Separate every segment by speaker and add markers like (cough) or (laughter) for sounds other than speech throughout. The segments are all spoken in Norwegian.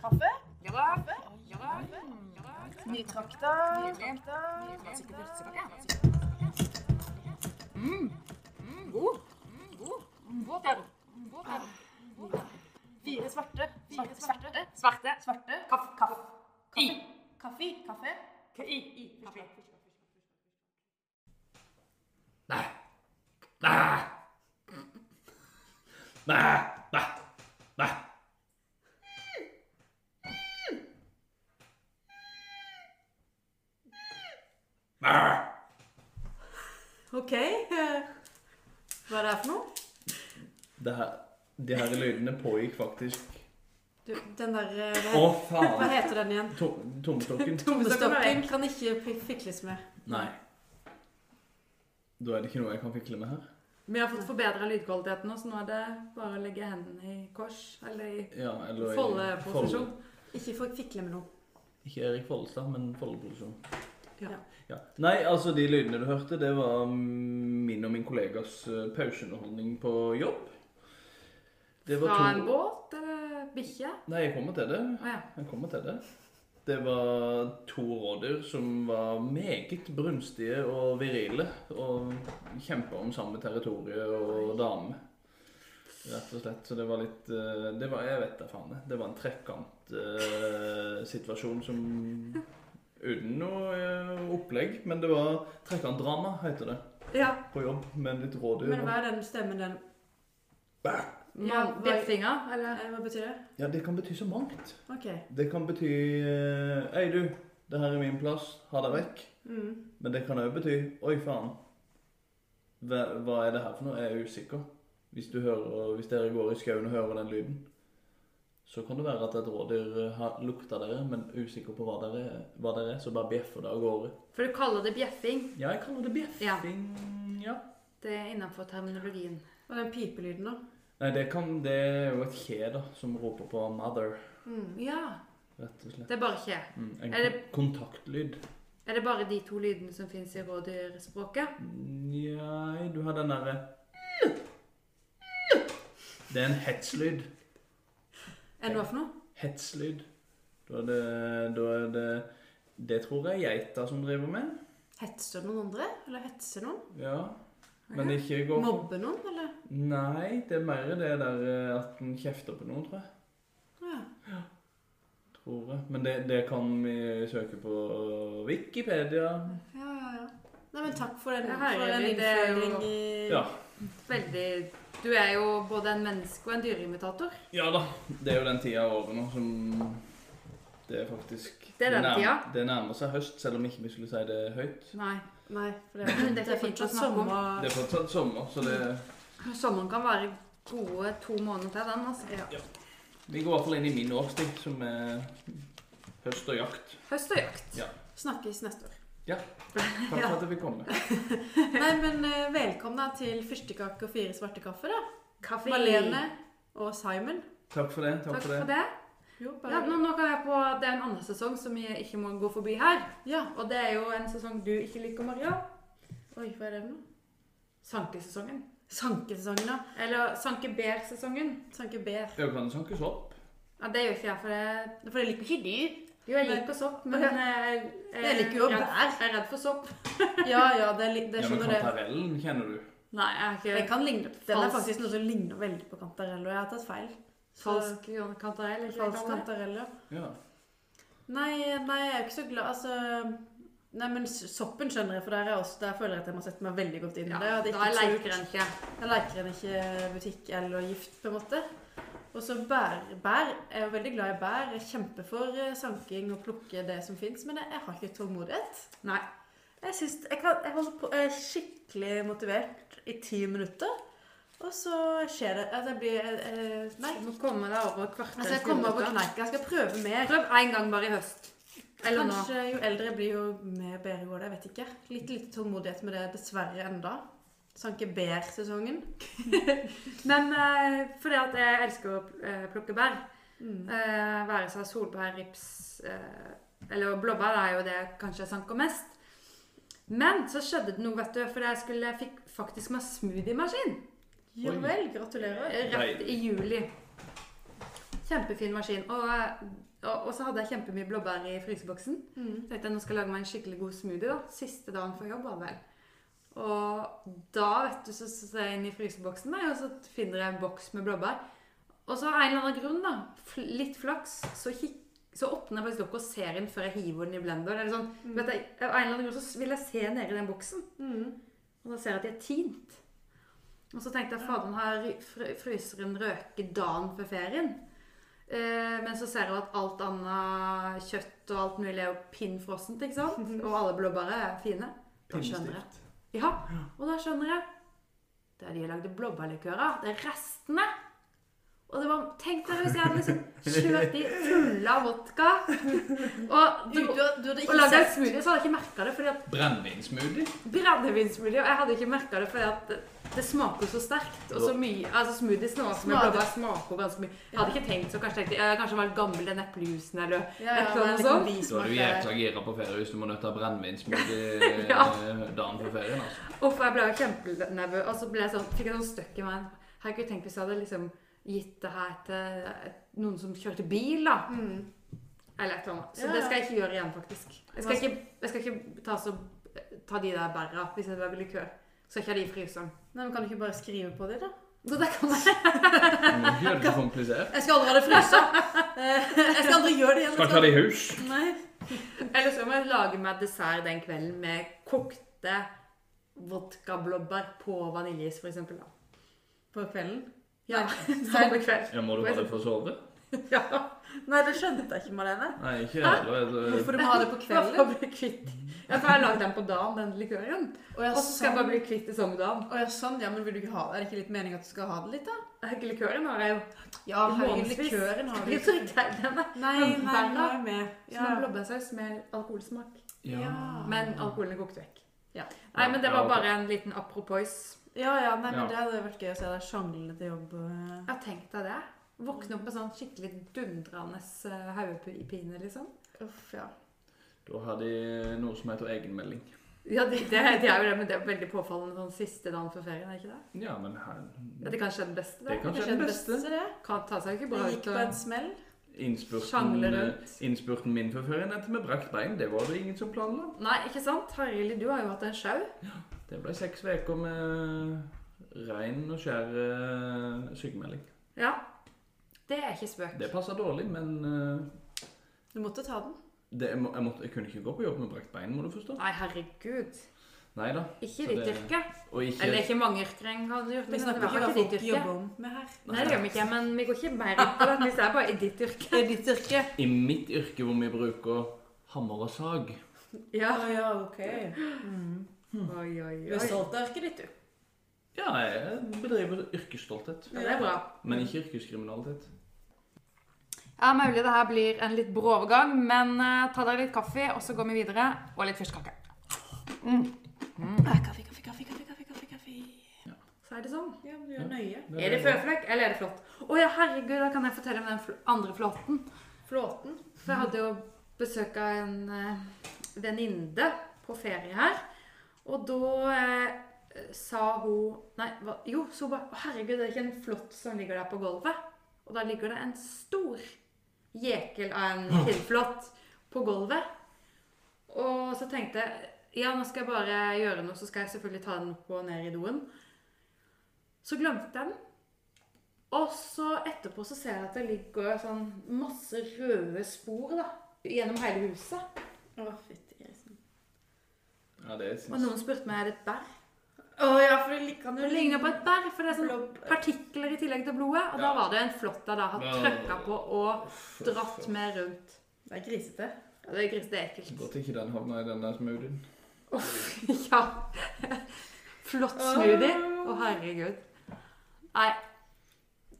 Speaker 1: Kaffe?
Speaker 2: Ja da. Ja da.
Speaker 1: Nytrakta?
Speaker 2: Nydelig.
Speaker 1: trakta, trakta.
Speaker 3: Mm.
Speaker 2: God. God. Våt er
Speaker 3: Mm,
Speaker 2: den. Våt er den.
Speaker 1: Fire svarte. Svarte. Svarte.
Speaker 2: Svarte.
Speaker 1: Svarte.
Speaker 2: Kaff. Kaff. I.
Speaker 1: Kaffe. Kaffe.
Speaker 2: K- I. I. Kaffe.
Speaker 4: Nei. Nei. Nei. Nei. Nei. Nei.
Speaker 3: (laughs)
Speaker 1: OK. Hva er det her for noe?
Speaker 4: Det her, de her lydene pågikk faktisk
Speaker 3: Du, den der eh,
Speaker 4: Å,
Speaker 3: Hva, hva
Speaker 4: faen!
Speaker 3: heter den igjen?
Speaker 4: To- Tommestokken?
Speaker 3: Tommestokken kan ikke fi- fikles med.
Speaker 4: Nei. Da er det ikke noe jeg kan fikle med her.
Speaker 2: Vi har fått forbedra lydkvaliteten, nå, så nå er det bare å legge hendene i kors. Eller i
Speaker 4: Ja, eller i-
Speaker 2: foldeposisjon.
Speaker 4: Fold-
Speaker 3: Ikke for fikle med noe.
Speaker 4: Ikke Erik Follestad, men Foldeposisjon.
Speaker 3: Ja.
Speaker 4: Ja. Nei, altså de lydene du hørte, det var min og min kollegas eh, pauseunderholdning på jobb. Det var
Speaker 2: Fra en
Speaker 4: to...
Speaker 2: båt eller bikkje.
Speaker 4: Nei, jeg kommer til det.
Speaker 2: Å ja.
Speaker 4: Jeg kommer til det. Det var to rådyr som var meget brunstige og virile, og kjempa om samme territorie og dame. Rett og slett. Så det var litt eh, det var, Jeg vet da faen. jeg. Det var en trekantsituasjon som Uten noe eh, opplegg, men det var trekantdrama, heter det,
Speaker 3: ja.
Speaker 4: på jobb. Med litt rådyr.
Speaker 3: Men hva er den stemmen den
Speaker 2: Ja,
Speaker 3: Hva- hva,
Speaker 2: Bjefffinger, eller
Speaker 3: eh, hva betyr det?
Speaker 4: Ja, det kan bety så mangt.
Speaker 3: OK.
Speaker 4: Det kan bety eh, Hei, du. Det her er min plass. Ha deg vekk.
Speaker 3: Mm.
Speaker 4: Men det kan òg bety Oi, faen. Hva, hva er det her for noe? Jeg er usikker. Hvis, du hører, hvis dere går i skauen og hører den lyden, så kan det være at et rådyr eh, har lukta dere, men usikker på hva dere, hva dere er, så bare bjeffer det av gårde.
Speaker 2: For du kaller det bjeffing.
Speaker 4: Ja, jeg kaller det bjeffing. Ja.
Speaker 2: Det er innenfor terminologien.
Speaker 3: Og den pipelyden, da?
Speaker 4: Nei, det, kan, det er jo et kje, da, som roper på 'mother',
Speaker 3: Mm.
Speaker 2: Ja.
Speaker 4: rett og slett.
Speaker 2: Det er bare kje.
Speaker 4: Mm, en
Speaker 2: Er det-
Speaker 4: kon- kontaktlyd.
Speaker 2: Er det bare de to lydene som fins i rådyrspråket?
Speaker 4: Nei, du har den derre Det er en hetslyd.
Speaker 3: Er det noe for noe?
Speaker 4: Hetslyd. Da er det, da er det Det tror jeg er geita som driver med.
Speaker 3: Hetser du noen andre? Eller hetser noen?
Speaker 4: Ja. Men ikke går
Speaker 3: Mobber noen, eller?
Speaker 4: Nei, det er mer det der eh, at en kjefter på noen, tror jeg.
Speaker 3: Ja.
Speaker 4: Tror jeg. Men det, det kan vi søke på Wikipedia.
Speaker 3: ja, ja, ja. Nei, men takk for den,
Speaker 2: Ja, her
Speaker 3: for
Speaker 2: er
Speaker 3: den
Speaker 2: vi, det er jo-
Speaker 3: innføring i
Speaker 4: Ja.
Speaker 2: Veldig Du er jo både en menneske og en dyreimitator.
Speaker 4: Ja da. Det er jo den tida av året nå som Det er faktisk
Speaker 2: Det er den
Speaker 4: nærmer,
Speaker 2: tida.
Speaker 4: det nærmer seg høst, selv om ikke vi skulle si det høyt.
Speaker 2: Nei.
Speaker 3: Nei, for
Speaker 2: (clears throat)
Speaker 3: det, er-
Speaker 2: Det er
Speaker 3: det er
Speaker 2: fint å
Speaker 3: fortsatt
Speaker 2: snakke om.
Speaker 4: Det
Speaker 3: sommer
Speaker 4: er fortsatt sommer, så det
Speaker 2: Sommeren kan være gode to måneder til den. altså.
Speaker 4: Vi går i hvert fall inn i min årstid, som er høst og jakt.
Speaker 2: Høst og jakt.
Speaker 4: Ja.
Speaker 3: Snakkes neste år.
Speaker 4: Takk for at jeg fikk komme.
Speaker 3: Nei, men eh, velkomna til fyrstekake og fire svarte kaffe, da.
Speaker 2: Kaffe.
Speaker 3: Malene og Simon.
Speaker 4: Takk for det. Takk,
Speaker 2: Takk for det.
Speaker 3: Jo,
Speaker 2: Ja, nå, nå kan jeg på at Det er en annen sesong som vi ikke må gå forbi her.
Speaker 3: ja.
Speaker 2: Og det er jo en sesong du ikke liker, Maria.
Speaker 3: Oi, hva er det for noe?
Speaker 2: Sankesesongen.
Speaker 3: Sankesesongen, da.
Speaker 2: Eller sankebær-sesongen.
Speaker 3: Sanke bær.
Speaker 4: Jeg kan sankes opp.
Speaker 2: Ja, Det gjør ikke jeg, for det
Speaker 3: For jeg liker ikke dyr.
Speaker 2: Jo, jeg
Speaker 3: Men-
Speaker 2: liker sopp, men
Speaker 3: Ja.
Speaker 2: jeg,
Speaker 3: Jeg liker jo
Speaker 2: er redd-
Speaker 3: bær.
Speaker 2: Jeg er redd for sopp.
Speaker 3: Ja, ja, det, er li- det
Speaker 4: Ja, men
Speaker 3: skjønner du.
Speaker 4: kantarellen kjenner du.
Speaker 2: Nei, jeg er
Speaker 3: Den
Speaker 2: ikke
Speaker 3: kan ligne, den er
Speaker 2: Falsk.
Speaker 3: faktisk noe som ligner veldig på kantarell, og jeg har tatt feil. Så-
Speaker 2: falsk kantarell. ikke
Speaker 3: Falsk
Speaker 2: sant?
Speaker 3: kantarell, ja.
Speaker 4: Ja.
Speaker 3: Nei, nei, jeg er ikke så glad, altså... Nei, men s- soppen skjønner jeg, for der, er jeg også, der føler jeg at jeg må sette meg veldig godt inn i
Speaker 2: Ja,
Speaker 3: det. og det er
Speaker 2: da
Speaker 3: ikke så-
Speaker 2: leker en ikke.
Speaker 3: Jeg liker en ikke butikk eller gift, på en måte. Og så bær, bær. Jeg er jo veldig glad i bær. Jeg kjemper for eh, sanking og plukke det som fins, men jeg, jeg har ikke tålmodighet.
Speaker 2: Nei.
Speaker 3: Jeg, syns, jeg, kan, jeg, holder på, jeg er skikkelig motivert i ti minutter, og så skjer det at jeg blir eh, Nei. Altså,
Speaker 2: Du må komme deg Altså, over kvarter.
Speaker 3: Jeg skal komme over kneika. Jeg skal prøve mer.
Speaker 2: Prøv én gang bare i høst. Eller nå.
Speaker 3: Kanskje jo eldre jeg blir, jo mer bedre går det. Jeg vet ikke. Litt lite tålmodighet med det, dessverre, enda. Sanke bær-sesongen.
Speaker 2: Men eh, fordi at jeg elsker å eh, plukke bær,
Speaker 3: Mm.
Speaker 2: eh, være seg solbær, rips eh, eller blåbær, det er jo det jeg kanskje sanker mest. Men så skjedde det noe, vet du, for jeg, skulle, jeg fikk faktisk meg smoothiemaskin
Speaker 3: Ja
Speaker 5: Oi.
Speaker 3: vel, gratulerer.
Speaker 2: eh, rett
Speaker 5: Deilig.
Speaker 2: i juli. Kjempefin maskin. Og, eh, og, og så hadde jeg kjempemye blåbær i fryseboksen.
Speaker 3: Mm.
Speaker 2: tenkte jeg nå skal jeg lage meg en skikkelig god smoothie. da, Siste dagen før jobb. var det vel. Og da vet du, så så ser jeg inn i fryseboksen, der, og så finner jeg en boks med blåbær. Og så av en eller annen grunn, da, fl- litt flaks, så, kik så åpner jeg faktisk opp og ser den før jeg hiver den i blender. Eller sånn.
Speaker 3: Mm.
Speaker 2: vet du, av en eller annen grunn så s- vil jeg se nedi den boksen.
Speaker 3: Mm.
Speaker 2: Og da ser jeg at de er tint. Og så tenkte jeg faderen har ry- fr- fryseren røket dagen før ferien. Eh, men så ser jeg jo at alt annet kjøtt og alt mulig er jo pinnfrossent, ikke sant?
Speaker 3: Mhm.
Speaker 2: Og alle blåbær er fine. Da skjønner jeg.
Speaker 5: Pinnestift.
Speaker 2: Ja, og da skjønner jeg. Det er de lagde blåbærlikører. Det er restene. Og det var, tenk dere hvis jeg hadde liksom kjørt de fulle av vodka og,
Speaker 3: Du, du,
Speaker 2: dro-
Speaker 3: du hadde
Speaker 2: og
Speaker 3: ikke
Speaker 2: lagd en
Speaker 3: sett
Speaker 2: smoothie, så hadde jeg ikke merka det. fordi at
Speaker 5: Brennevinsmoothie.
Speaker 2: Brennevinsmulig, og jeg hadde ikke merka det fordi at det- det smaker så sterkt. Og så mye, altså Smoothies nå som jeg
Speaker 3: Smaker.
Speaker 2: blåbær smaker ganske mye. Jeg hadde ikke tenkt så kanskje tenkte jeg, jeg har kanskje vært gammel den eplejusen eller
Speaker 3: ja, ja,
Speaker 2: et eller annet
Speaker 3: men liksom
Speaker 2: sånt.
Speaker 5: Da er du
Speaker 3: bismak der.
Speaker 5: jækla gira på ferie hvis du må nødt til å
Speaker 2: (laughs)
Speaker 5: ha brennevinsmoothie
Speaker 2: Ja.
Speaker 5: eh, dagen før ferien.
Speaker 2: (laughs)
Speaker 5: altså.
Speaker 2: Uff, jeg ble jo kjempenervøs. Og så ble jeg sånn, fikk jeg sånn støkk i meg. Herregud, tenk hvis jeg hadde liksom gitt det her til eh, noen som kjørte bil, da.
Speaker 3: Mm.
Speaker 2: Eller et eller annet. Så
Speaker 3: Ja,
Speaker 2: det
Speaker 3: ja.
Speaker 2: skal jeg ikke gjøre igjen, faktisk. Jeg skal ikke, jeg skal ikke ta, så, ta de der bæra hvis jeg lager likør. Skal ikke ha de i fryseren.
Speaker 3: Nei, men Kan du ikke bare skrive på dem, da?
Speaker 2: Så det kan jeg
Speaker 5: Du må ikke gjøre det for komplisert.
Speaker 3: Jeg skal aldri ha det (laughs) frysa. Eh, Jeg skal aldri gjøre det igjen. liksom.
Speaker 5: Skal ikke ha det i hus.
Speaker 3: Nei.
Speaker 2: Eller så må jeg lage meg dessert den kvelden med kokte vodkablåbær på vaniljeis, for eksempel. Da.
Speaker 3: På kvelden.
Speaker 2: (laughs) Ja,
Speaker 3: Samme
Speaker 2: samme kveld.
Speaker 5: Ja, Må du ha det for å sove?
Speaker 2: Ja.
Speaker 3: Nei, det skjønte jeg ikke, Marlene.
Speaker 5: Nei, ikke heller.
Speaker 3: Hvorfor du må ha det
Speaker 2: (laughs)
Speaker 3: på kvelden?
Speaker 2: For å bli kvitt. Ja, for jeg har lagd den på dagen, den likøren.
Speaker 3: Å ja,
Speaker 2: Og så skal jeg bare
Speaker 3: sånn.
Speaker 2: bli kvitt det samme dagen.
Speaker 3: Å ja, sånn. Ja, men vil du ikke ha det? Er det ikke litt meningen at du skal ha det litt, da?
Speaker 2: Jeg har Ikke likøren har jeg jo.
Speaker 3: Ja,
Speaker 2: I
Speaker 3: herregud,
Speaker 2: månedsvis.
Speaker 3: likøren har vi
Speaker 2: Jeg tror ikke jeg- den er
Speaker 3: Nei, nei, nå er jeg med.
Speaker 2: som en
Speaker 3: Ja.
Speaker 2: Sånn blåbærsaus med alkoholsmak.
Speaker 5: Ja.
Speaker 2: Men alkoholen er kokt vekk.
Speaker 3: Ja.
Speaker 2: Nei, men det
Speaker 5: Ja,
Speaker 2: var
Speaker 5: ok.
Speaker 2: bare en liten apropos.
Speaker 3: ja, ja, nei, men
Speaker 5: Ja.
Speaker 3: det hadde vært gøy å se deg sjangle til jobb. eh.
Speaker 2: Jeg tenkte det. Våkne opp med sånn skikkelig dundrende eh, hodepine, liksom.
Speaker 3: Uff, ja.
Speaker 5: Da har de noe som heter egenmelding.
Speaker 2: Ja, det, det, det er jo det, men det er veldig påfallende sånn siste dagen før ferien, er ikke det?
Speaker 5: Ja, men her
Speaker 2: Ja, det kan skje den beste.
Speaker 5: Det
Speaker 2: Det
Speaker 5: kan skje den beste.
Speaker 3: det.
Speaker 2: kan ta seg
Speaker 3: Det
Speaker 2: ikke bra
Speaker 3: gikk
Speaker 2: ut.
Speaker 3: på en
Speaker 2: Og...
Speaker 3: smell.
Speaker 5: Innspurten,
Speaker 2: Sjangle rundt.
Speaker 5: innspurten min før ferien endte med brakt bein. Det var det ingen som planla.
Speaker 2: Nei, ikke sant? Harrild, du har jo hatt en sjau.
Speaker 5: Det ble seks uker med rein og skjær eh, sykemelding.
Speaker 2: Ja. Det er ikke spøk.
Speaker 5: Det passa dårlig, men eh,
Speaker 3: Du måtte ta den.
Speaker 5: det, jeg, må, jeg, måtte, jeg kunne ikke gå på jobb med brakt bein, må du forstå.
Speaker 2: Nei, herregud.
Speaker 5: Nei da.
Speaker 2: Ikke
Speaker 5: Så
Speaker 2: ditt
Speaker 5: det-
Speaker 2: yrke.
Speaker 5: Og ikke
Speaker 2: Eller det er ikke mange yrker en kan gjøre.
Speaker 3: Vi snakker ikke hva folk jobber om med her.
Speaker 2: Nei, det gjør vi ikke, men vi går ikke mer inn på det. Hvis det er bare i ditt yrke.
Speaker 3: Det er ditt yrke.
Speaker 5: i mitt yrke hvor vi bruker hammer og sag.
Speaker 2: Ja.
Speaker 3: Å ja, ok. Mm.
Speaker 2: Oi, oi,
Speaker 3: Du
Speaker 2: oi.
Speaker 3: er stolt av yrket ditt, du.
Speaker 5: Ja, jeg bedriver yrkesstolthet,
Speaker 2: Ja, det er bra.
Speaker 5: men ikke yrkeskriminalitet.
Speaker 2: Ja, mulig det her blir en litt brå overgang, men eh, ta dere litt kaffe, og så går vi videre. Og litt Mm. fyrstekake.
Speaker 3: Ah, Mm. Kaffe, kaffe, kaffe, kaffe, kaffe, kaffe, kaffe.
Speaker 2: Så er det sånn.
Speaker 3: Ja, men du er nøye.
Speaker 2: Er det føflekk, eller er det flått? Å ja, herregud, da kan jeg fortelle om den fl andre flåten.
Speaker 3: Flåten.
Speaker 2: For jeg hadde jo besøk av en eh, venninne på ferie her. Og da eh, sa hun Nei, hva, jo, så hun bare Å herregud, det er ikke en flått som ligger der på gulvet. Og da ligger det en stor jekel av en pinnflått på gulvet. Og så tenkte jeg ja, nå skal jeg bare gjøre noe, så skal jeg selvfølgelig ta den opp og ned i doen. Så glemte jeg den. Og så etterpå så ser jeg at det ligger sånn masse røde spor da, gjennom hele huset.
Speaker 3: Å, fytti grisen.
Speaker 5: Ja, det
Speaker 2: Og
Speaker 5: syns
Speaker 2: noen spurte meg er det et bær.
Speaker 3: Å ja, for det kan jo
Speaker 2: Det ligner på et bær, for det er sånn
Speaker 3: Blob-
Speaker 2: partikler i tillegg til blodet. Og da
Speaker 5: Ja.
Speaker 2: var det en flått jeg da har
Speaker 5: Ja.
Speaker 2: trøkka på og dratt med rundt.
Speaker 3: Det er grisete.
Speaker 2: Ja, det er gris, det er ekkelt.
Speaker 5: Godt ikke den havna i den der smoothien.
Speaker 2: Uff, (laughs) ja. Flott smoothie. Å, herregud. Nei.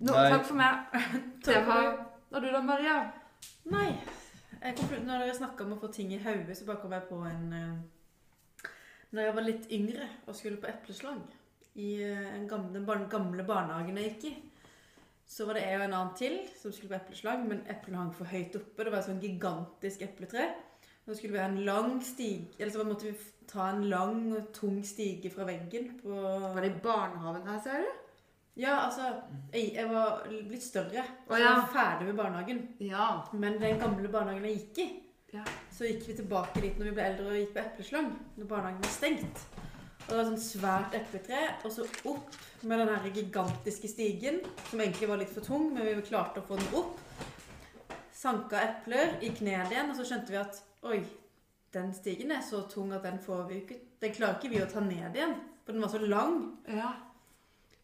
Speaker 2: Nå,
Speaker 5: Nei.
Speaker 2: takk for meg. Det var Og du da, Maria?
Speaker 3: Nei. Jeg kom, på- når dere snakka om å få ting i hodet, så bare kom jeg på en eh, Når jeg var litt yngre og skulle på epleslang i eh, en gamle, den bar- gamle barnehagen jeg gikk i, så var det jeg og en annen til som skulle på epleslang, men eplene hang for høyt oppe. Det var et sånn gigantisk epletre. Nå skulle vi ha en lang stige Eller så måtte vi f- ta en lang og tung stige fra veggen på
Speaker 2: Var det i barnehagen her, ser du?
Speaker 3: Ja, altså Jeg, jeg var litt større.
Speaker 2: Å,
Speaker 3: Så jeg
Speaker 2: ja.
Speaker 3: var ferdig med barnehagen.
Speaker 2: Ja.
Speaker 3: Men den gamle barnehagen jeg gikk i,
Speaker 2: Ja.
Speaker 3: så gikk vi tilbake dit når vi ble eldre og gikk på epleslang. Når barnehagen var stengt. Og det var sånn svært epletre, og så opp med den her gigantiske stigen, som egentlig var litt for tung, men vi klarte å få den opp. Sanka epler, gikk ned igjen, og så skjønte vi at oi, den stigen er så tung at den får vi ikke Den klarer ikke vi å ta ned igjen, for den var så lang.
Speaker 2: ja.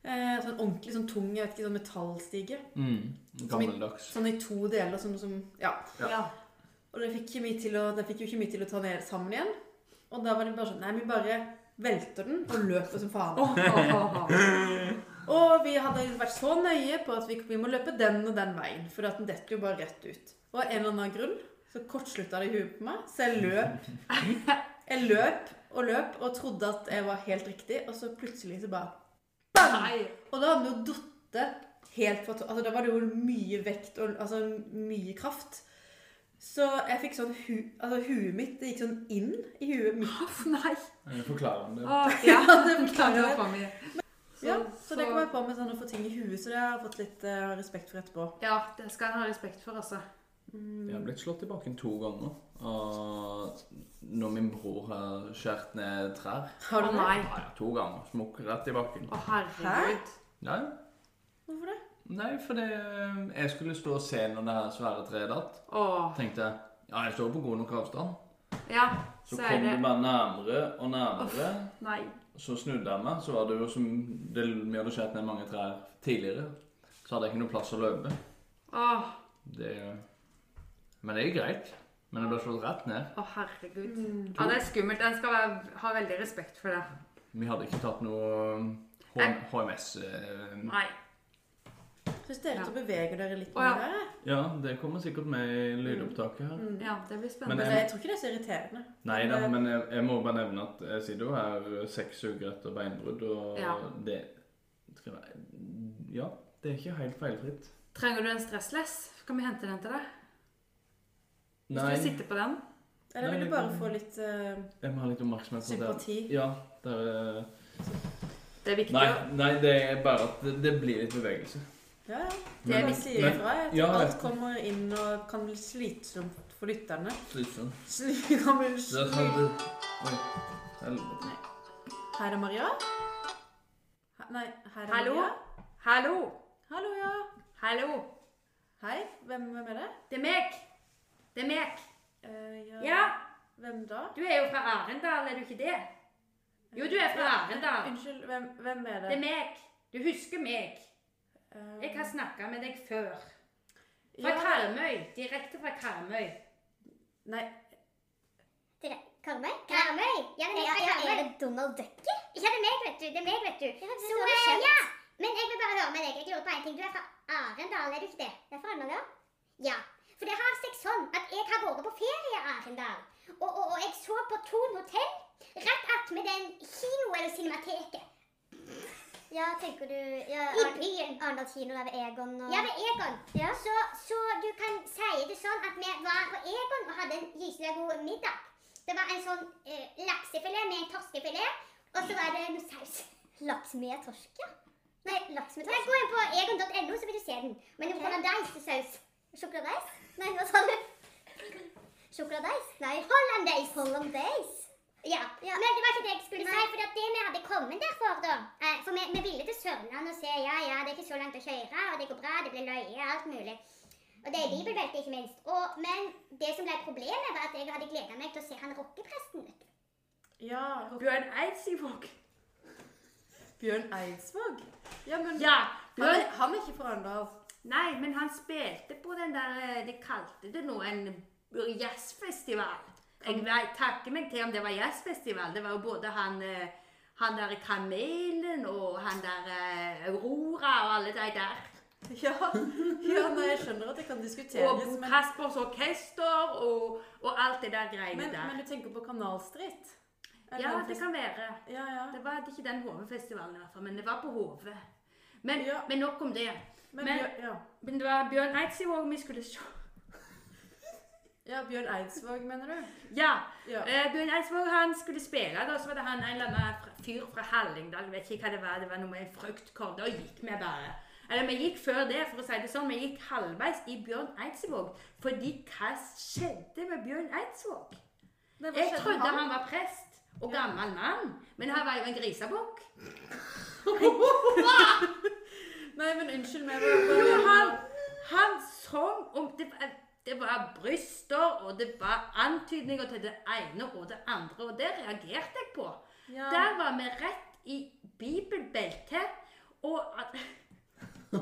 Speaker 3: Eh, sånn ordentlig sånn tung, jeg vet ikke, sånn metallstige.
Speaker 4: Mm. Gammeldags.
Speaker 3: Sånn i to deler, som, som Ja.
Speaker 4: Ja.
Speaker 2: ja.
Speaker 3: Og den fikk, ikke mye til å, den fikk jo ikke mye til å ta ned sammen igjen. Og da var det bare sånn Nei, vi bare velter den og løper som faen.
Speaker 2: Åh, åh, åh, åh.
Speaker 3: Og vi hadde vært så nøye på at vi, vi må løpe den og den veien. For at den detter jo bare rett ut. Og av en eller annen grunn så kortslutta det i huet på meg, så jeg løp. Jeg løp og løp og trodde at jeg var helt riktig, og så plutselig så bare
Speaker 2: Nei.
Speaker 3: Og da hadde den jo datt helt fra to- Altså, da var det jo mye vekt og altså, mye kraft. Så jeg fikk sånn hu, Altså, huet mitt det gikk sånn inn i huet mitt.
Speaker 2: Huff, nei.
Speaker 4: Jeg forklarer om det.
Speaker 2: (laughs) Åh, ja, det
Speaker 3: beklager jeg.
Speaker 2: beklager jeg.
Speaker 3: Så, ja, så, det kom jeg på med sånn å få ting i huet, så det har jeg fått litt eh, respekt for etterpå. Mm.
Speaker 2: Ja, det skal en ha respekt for, altså.
Speaker 4: Jeg har blitt slått i baken to ganger av når min bror har skåret ned trær.
Speaker 3: Har du
Speaker 2: Å
Speaker 3: det?
Speaker 2: nei.
Speaker 4: Ja, ja, to ganger. Smukk rett i baken.
Speaker 2: Å herregud.
Speaker 4: Nei,
Speaker 3: Hvorfor det?
Speaker 4: nei for det, jeg skulle stå og se når det her svære treet datt.
Speaker 2: Åh.
Speaker 4: Tenkte jeg ja, jeg står på god nok avstand.
Speaker 2: Ja,
Speaker 4: Så,
Speaker 2: så er
Speaker 4: kom
Speaker 2: det
Speaker 4: det bare nærmere og nærmere.
Speaker 2: Nei.
Speaker 4: Så snudde jeg meg, så var det jo som det, Vi hadde skåret ned mange trær tidligere. Så hadde jeg ikke noe plass å løpe.
Speaker 2: Åh,
Speaker 4: Det, men det er greit. Men jeg ble slått rett ned.
Speaker 2: å herregud. Ja, det er skummelt. En skal være, ha veldig respekt for det.
Speaker 4: Vi hadde ikke tatt noe um,
Speaker 2: Nei.
Speaker 4: HMS eh,
Speaker 2: Nei.
Speaker 3: Syns dere
Speaker 2: Ja.
Speaker 3: at beveger dere litt mer
Speaker 2: Å, ja.
Speaker 3: der? jeg?
Speaker 4: Ja, det kommer sikkert med i lydopptaket her.
Speaker 3: Mm.
Speaker 2: Ja, det blir
Speaker 3: Men
Speaker 2: spennende.
Speaker 3: jeg, jeg tror ikke det er så irriterende.
Speaker 4: Nei da,
Speaker 3: Men, eh,
Speaker 4: men jeg, jeg må bare nevne at eh, jeg sitter jo her seks uker etter beinbrudd, og
Speaker 2: Ja.
Speaker 4: det skal være, Ja, det er ikke helt feilfritt.
Speaker 2: Trenger du en stressless? Kan vi hente den til deg? Hvis
Speaker 4: Nei,
Speaker 2: du sitter på den.
Speaker 3: Eller vil
Speaker 4: Nei,
Speaker 3: du bare
Speaker 4: det-
Speaker 3: få litt eh,
Speaker 4: jeg må ha litt oppmerksomhet på det.
Speaker 3: sympati?
Speaker 4: Ja, det er, eh,
Speaker 2: Det er viktig.
Speaker 4: nei,
Speaker 2: å-
Speaker 4: nei, det er bare at det, det blir litt bevegelse.
Speaker 3: Ja, ja.
Speaker 2: Det er
Speaker 3: Bare
Speaker 2: viktig.
Speaker 3: sier ifra. Jeg
Speaker 4: Ja,
Speaker 3: tror
Speaker 4: jeg
Speaker 3: alt
Speaker 4: vet.
Speaker 3: kommer inn og kan bli slitsomt for lytterne.
Speaker 4: Slitsom.
Speaker 3: Sli- kan bli
Speaker 4: Så jeg
Speaker 3: sli-
Speaker 4: tror det- Oi. Helvete.
Speaker 3: Her er Maria. He- Nei, her er
Speaker 2: Hallo?
Speaker 3: Maria.
Speaker 2: Hallo!
Speaker 3: Hallo, ja.
Speaker 2: Hallo!
Speaker 3: Hei, hvem, hvem er det?
Speaker 2: Det er meg! Det er meg!
Speaker 3: Eh,
Speaker 2: Ja,
Speaker 3: Hvem da?
Speaker 2: du er jo fra Arendal, er du ikke det? Jo, du er fra Arendal.
Speaker 3: Eh, Unnskyld, hvem, hvem er
Speaker 2: Det
Speaker 3: det?
Speaker 2: er meg. Du husker meg.
Speaker 3: Eh,
Speaker 2: Jeg har snakka med deg før. Fra
Speaker 3: ja.
Speaker 2: Karmøy. Direkte fra Karmøy.
Speaker 3: Nei,
Speaker 6: Dere, Karmøy? Karmøy? Ja, men jeg, jeg, er det Donald Ducker? Ja, det er meg, vet du. Det er meg, vet du. Så, eh, ja. Men jeg vil bare høre med deg. Jeg lurer på en ting. Du er fra Arendal, er du ikke det? Du er fra Arendal, ja? Ja. For det har seg sånn at jeg har vært på ferie i Arendal. Og, og, og jeg så på Thon hotell rett attmed den kino eller cinemateket.
Speaker 7: Ja, tenker du ja,
Speaker 6: I
Speaker 7: Ar-
Speaker 6: byen.
Speaker 7: Arendal kino der ved Egon og
Speaker 6: Ja, ved Egon.
Speaker 7: Ja.
Speaker 6: Så, så du kan si det sånn at vi var på Egon og hadde en gyselig god middag. Det var en sånn eh, laksefilet med en torskefilet, og så var det noe saus. (laughs)
Speaker 7: Laks med torsk, ja. Nei, laks med
Speaker 6: Nei,
Speaker 7: torsk.
Speaker 6: gå inn på egon.no, så vil du se den. Men det
Speaker 7: Ok.
Speaker 6: var hollandaise-saus.
Speaker 7: Sjokoladeis? Nei, hva sa du? Sjokoladeis? Nei.
Speaker 6: Hollandaise!
Speaker 7: Hollandeis?
Speaker 6: Ja.
Speaker 7: Ja.
Speaker 6: Men det var ikke det jeg skulle
Speaker 7: Nei.
Speaker 6: si, for at det vi hadde kommet der for, da eh, For vi, vi ville til Sørlandet og se. Ja, ja, det er ikke så langt å kjøre, og det går bra, det blir løye, alt mulig. Og det er bibelbeltet, ikke minst. Og, men det som ble problemet, var at jeg hadde gleda meg til å se han rockepresten. vet du.
Speaker 3: ja.
Speaker 2: Bjørn Eidsvåg.
Speaker 3: Bjørn Eidsvåg? Ja, men
Speaker 2: Ja.
Speaker 3: han, er,
Speaker 2: Bjørn
Speaker 3: han er ikke fra Arendal. (laughs)
Speaker 2: Nei, men han spilte på den der eh, De kalte det nå en jazzfestival. Jeg vet- takker meg til om det var jazzfestival. Det var jo både han eh, han der Kamelen og han der eh, Aurora og alle de der.
Speaker 3: Ja. ja, nei, jeg skjønner at det kan
Speaker 2: Og
Speaker 3: diskuteres,
Speaker 2: Bo
Speaker 3: men,
Speaker 2: Caspers orkester og, og alt det der greiene
Speaker 3: men,
Speaker 2: der.
Speaker 3: men du tenker på Kanalstrid? Er
Speaker 2: ja,
Speaker 3: den
Speaker 2: det
Speaker 3: fest-
Speaker 2: kan være.
Speaker 3: Ja, ja.
Speaker 2: Det var ikke den Hovefestivalen i hvert fall, men det var på Hove. Men,
Speaker 3: Ja.
Speaker 2: men nok om det.
Speaker 3: Men,
Speaker 2: Men-
Speaker 3: Bjørn- ja.
Speaker 2: Men det var Bjørn Eidsvåg vi skulle se.
Speaker 3: Ja, Bjørn Eidsvåg, mener du?
Speaker 2: (laughs) Ja.
Speaker 3: Ja.
Speaker 2: Eh, Bjørn Eidsvåg han skulle spille, da, så var det han en eller annen fra- fyr fra Hallingdal, vet ikke hva det var, det var noe med en fruktkorv. Da gikk vi bare. Eller vi gikk før det, for å si det sånn, vi gikk halvveis i Bjørn Eidsvåg. Fordi hva skjedde med Bjørn Eidsvåg?
Speaker 3: Nei, hva
Speaker 2: Jeg
Speaker 3: skjedde
Speaker 2: trodde
Speaker 3: med
Speaker 2: han var prest og gammel mann, men han var jo en grisebukk.
Speaker 3: Nei, men unnskyld meg. Hva, hva,
Speaker 2: Jo, han, han sang om det, var- det var bryster, og det var antydninger til det ene og det andre, og det reagerte jeg på.
Speaker 3: Ja.
Speaker 2: Der var vi rett i bibelbeltet, og at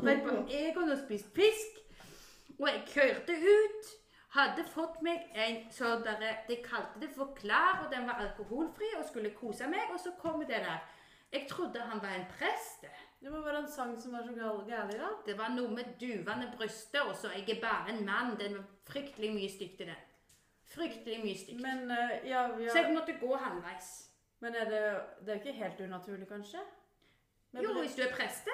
Speaker 2: Men på Egon og spist fisk, og jeg kjørte ut. Hadde fått meg en sånn derre De kalte det for Klar, og den var alkoholfri og skulle kose meg, og så kom det der. Jeg trodde han var en prest. det.
Speaker 3: Det må være en sang som var så gal- gærlig, da.
Speaker 2: Det var noe med duvende bryster, og så 'Jeg er bare en mann'. Den var fryktelig mye stygt i den. Fryktelig mye stygt.
Speaker 3: Men eh, ja, vi
Speaker 2: Så jeg
Speaker 3: har,
Speaker 2: måtte gå halvveis.
Speaker 3: Men er det, det er jo ikke helt unaturlig, kanskje? Men
Speaker 2: Jo,
Speaker 3: blir-
Speaker 2: hvis du er preste.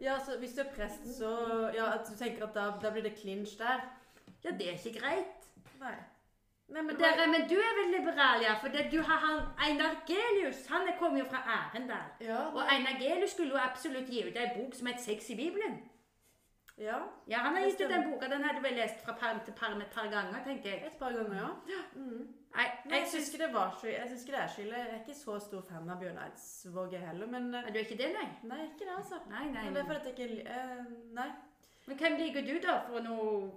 Speaker 3: Ja, så Hvis du er prest, så Ja, at du tenker at da, da blir det clinch der?
Speaker 2: Ja, det er ikke greit.
Speaker 3: Nei. Nei, men
Speaker 2: Dere, men du er vel liberal, ja. For det, du har han Einar Gelius. Han er- kommer jo fra Arendal.
Speaker 3: Ja,
Speaker 2: Og Einar Gelius skulle jo absolutt gi ut ei bok som het Sex i Bibelen.
Speaker 3: ja.
Speaker 2: Ja, han har
Speaker 3: Det
Speaker 2: gitt ut
Speaker 3: stemmer.
Speaker 2: den boka. Den hadde vi lest fra perm til perm et par ganger, tenker jeg.
Speaker 3: Et par ganger, ja.
Speaker 2: Nei,
Speaker 3: Men
Speaker 2: jeg
Speaker 3: jeg syns
Speaker 2: synes...
Speaker 3: ikke det var så Jeg synes ikke det er så ille. Jeg er ikke så stor fan av Bjørn Eidsvåg jeg heller, men eh,
Speaker 2: Er du ikke det, nei?
Speaker 3: Nei, ikke det, altså.
Speaker 2: Nei, nei.
Speaker 3: Men det er
Speaker 2: nei.
Speaker 3: fordi at jeg ikke li- eh, Nei.
Speaker 2: Men hvem liker du, da, for noe
Speaker 3: Nei,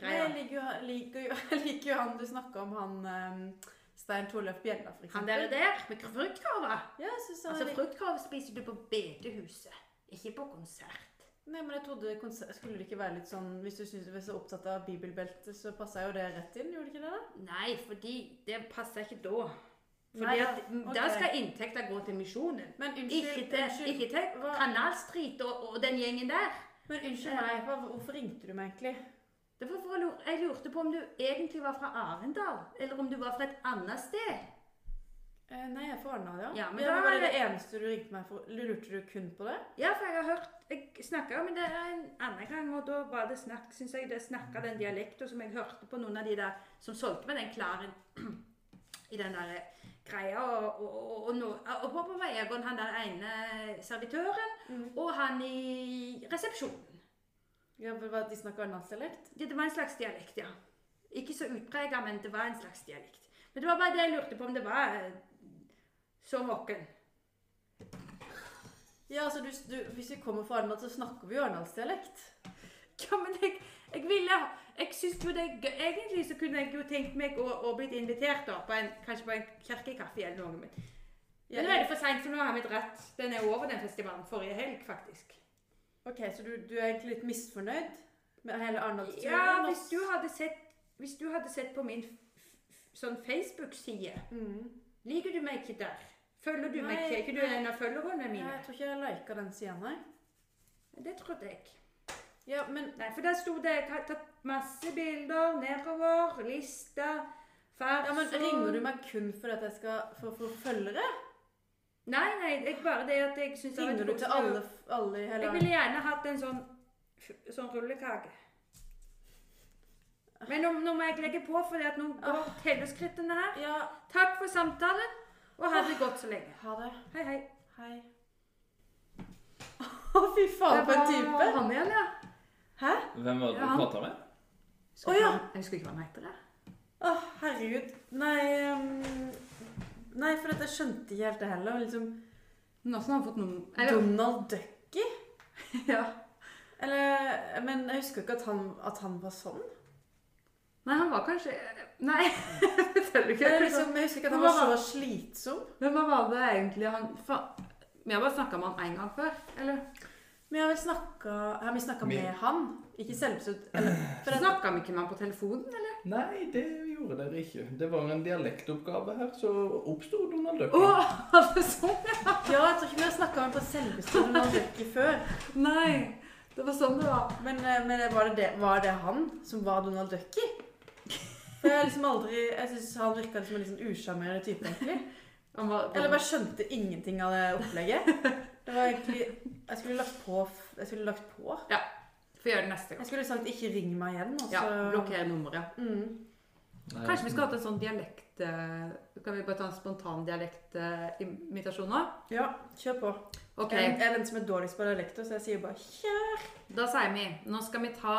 Speaker 3: Jeg
Speaker 2: greier?
Speaker 3: liker jo, liker jo, (laughs) jeg liker jo han du snakker om, han eh, Stein Torleif Bjella, for
Speaker 2: Han
Speaker 3: eksempel.
Speaker 2: der, der med fruktkorva.
Speaker 3: Ja, jeg synes han er
Speaker 2: Altså,
Speaker 3: litt-
Speaker 2: fruktkorv spiser du på bedehuset, ikke på konsert.
Speaker 3: Nei, men jeg trodde konsert, Skulle det ikke være litt sånn Hvis du synes du er så opptatt av bibelbeltet, så passa jo det rett inn, gjorde det ikke det? da?
Speaker 2: Nei, fordi det passer ikke da.
Speaker 3: Nei,
Speaker 2: Fordi at
Speaker 3: ok.
Speaker 2: Da skal inntekta gå til misjonen.
Speaker 3: Men unnskyld,
Speaker 2: Ikke til,
Speaker 3: unnskyld,
Speaker 2: ikke til
Speaker 3: hva-
Speaker 2: Kanal Street og, og den gjengen der.
Speaker 3: Men unnskyld meg, hva, hvorfor ringte du meg egentlig?
Speaker 2: Det var for å lure, jeg lurte på om du egentlig var fra Arendal, eller om du var fra et annet sted.
Speaker 3: Eh, nei, jeg er fra Arendal, ja.
Speaker 2: Ja, men
Speaker 3: ja,
Speaker 2: da
Speaker 3: men var
Speaker 2: er
Speaker 3: det det eneste du ringte meg for? Lurte du kun på det?
Speaker 2: Ja, for jeg har hørt Jeg snakka med dere en annen gang, og da var det snakk, synes jeg det snakka den dialekten som jeg hørte på noen av de der som solgte meg den klaren (clears throat) i den der greia. Og, og, og, og, nå- og på på vei Egon, han der ene servitøren, og han i resepsjonen.
Speaker 3: Ja, for hva, De snakker arendalsdialekt?
Speaker 2: Det, det var en slags dialekt, ja. Ikke så utprega, men det var en slags dialekt. Men det var bare det jeg lurte på om det var eh, som våken.
Speaker 3: Ja, altså, du, du, hvis vi kommer fra Arendal, så snakker vi jo arendalsdialekt.
Speaker 2: Ja, men jeg, jeg ville Jeg synes jo det er gøy. Egentlig så kunne jeg jo tenkt meg å, å blitt invitert da, på en, kanskje på en kirkekaffe eller noe. Men,
Speaker 3: Ja,
Speaker 2: men nå er det for seint, for nå har vi dratt. Den er over, den festivalen. Forrige helg, faktisk.
Speaker 3: Ok, Så du, du er egentlig litt misfornøyd med hele Arendalsturen?
Speaker 2: Ja,
Speaker 3: og-
Speaker 2: hvis du hadde sett, hvis du hadde sett på min f f sånn Facebook-side
Speaker 3: Mhm.
Speaker 2: Liker du meg ikke der? Følger du meg
Speaker 3: Nei,
Speaker 2: ikke? Er ikke du
Speaker 3: nei.
Speaker 2: en av følgerne
Speaker 3: Ja,
Speaker 2: mine?
Speaker 3: jeg tror ikke jeg liker den sida, nei.
Speaker 2: Det trodde jeg.
Speaker 3: Ja, men
Speaker 2: Nei, for der sto det Jeg har tatt masse bilder nedover. Lista. Farsund
Speaker 3: Ja, men Ringer du meg kun for at jeg skal for, for følgere?
Speaker 2: Nei, nei, ikke bare det at jeg syns
Speaker 3: Ringer du til alle, alle i hele
Speaker 2: Jeg ville gjerne hatt en sånn, f- sånn rullekake. Men nå, nå må jeg legge på, for at nå går telleskrittene her.
Speaker 3: Ja,
Speaker 2: Takk for samtalen, og ha det godt så lenge.
Speaker 3: ha det.
Speaker 2: Hei, hei.
Speaker 3: Hei. (laughs) Å, fy faen, for en type!
Speaker 2: Han igjen, ja.
Speaker 3: Hæ?
Speaker 5: Hvem var det
Speaker 2: Ja.
Speaker 5: du prata med?
Speaker 3: Å ja!
Speaker 2: Jeg husker ikke hva han heter. det.
Speaker 3: Å, herregud. Nei ehm, Nei, for at jeg skjønte ikke helt det heller. Liksom
Speaker 2: Men åssen har han fått noen
Speaker 3: Donald Ducky?
Speaker 2: (laughs) Ja.
Speaker 3: Eller Men jeg husker ikke at han, at han var sånn.
Speaker 2: Nei, han var kanskje Nei, (laughs) jeg føler ikke
Speaker 3: Jeg, liksom, jeg husker ikke at han var så slitsom.
Speaker 2: Men hva var det egentlig han Faen. Vi har bare snakka med han én gang før, eller?
Speaker 3: Men jeg har vel snakka Har vi snakka med han? Ikke selvsagt. For at,
Speaker 2: Snakka vi ikke med han på telefonen, eller?
Speaker 5: Nei, det gjorde dere ikke. Det var en dialektoppgave her, så oppsto Donald Duck.
Speaker 2: Å, var (laughs) det sånn?
Speaker 3: ja, jeg tror ikke vi har snakka med han på selveste Donald Ducky før.
Speaker 2: Nei. Det var sånn det var.
Speaker 3: Men, eh, men var, det det, var det han som var Donald Ducky? For jeg har liksom aldri Jeg syns han virka som en litt sånn usjarmerende type, egentlig.
Speaker 2: Han var,
Speaker 3: Eller bare skjønte ingenting av det opplegget. Det var egentlig Jeg skulle lagt på f- Jeg skulle lagt på.
Speaker 2: Får gjøre det neste gang.
Speaker 3: Jeg skulle sagt 'ikke ring meg igjen', og så
Speaker 2: Ja, Blokkere nummeret.
Speaker 3: Mm.
Speaker 5: Nei,
Speaker 2: Kanskje vi skulle hatt en sånn dialekt eh, Kan vi bare ta en spontan dialektinvitasjon nå?
Speaker 3: Ja, kjør på.
Speaker 2: Ok,
Speaker 3: Jeg, jeg er den som er dårligst på dialekter, så jeg sier bare 'kjør'.
Speaker 2: da sier vi Nå skal vi ta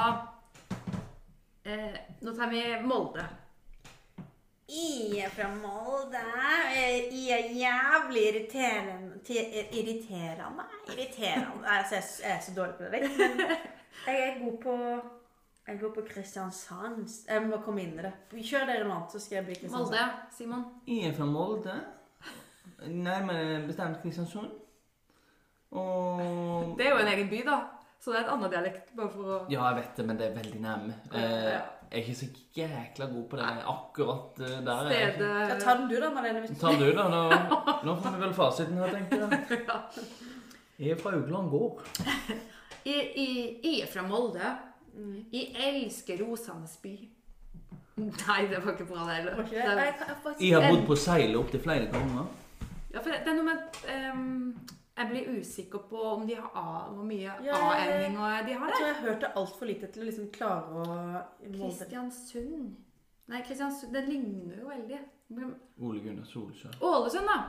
Speaker 2: eh, Nå tar vi Molde.
Speaker 3: Jeg er fra Molde. Jeg er jævlig irriterende Irriterende? Irriterende. Nei, altså, jeg s- jeg er så dårlig på det. ikke? Men jeg er god på Jeg er god på Kristiansand. Jeg må komme inn i det. Kjør dere noe annet, så skal jeg bli Kristiansand.
Speaker 2: Molde, Simon.
Speaker 4: Jeg er fra Molde. Nærmere bestemt Kristiansund. Og
Speaker 2: Det er jo en egen by, da. Så det er et annet dialekt. bare for å...
Speaker 4: Ja, jeg vet det, men det er veldig nærme. Eh,
Speaker 2: Ja.
Speaker 4: jeg er ikke så jækla god på det akkurat eh, der. er jeg ikke.
Speaker 2: Stedet
Speaker 3: Ja, ta den du, da, Marlene. Hvis du...
Speaker 4: Ta du, da. Nå,
Speaker 2: (laughs)
Speaker 4: nå får vi vel fasiten her, tenker jeg. Jeg er fra Augland gård.
Speaker 2: Jeg, jeg, jeg er fra Molde.
Speaker 3: Mm,
Speaker 2: Jeg elsker Rosanes by. Nei, det var ikke bra, det heller.
Speaker 3: Var ikke det?
Speaker 2: Det er-
Speaker 3: Nei, jeg kan- jeg faktisk-
Speaker 4: Jeg har bodd på Seile opptil flere ganger.
Speaker 2: Ja, for det, det er noe med at ehm, jeg blir usikker på om de har A, hvor mye
Speaker 3: Ja,
Speaker 2: A-ending og eh, de har
Speaker 3: Jeg
Speaker 2: der.
Speaker 3: tror jeg hørte altfor lite til å liksom klare å Molde.
Speaker 2: Kristiansund Nei, Kristiansund, det ligner jo veldig. Men-
Speaker 4: Ole Gunnar Solskjær.
Speaker 2: Ålesund, da.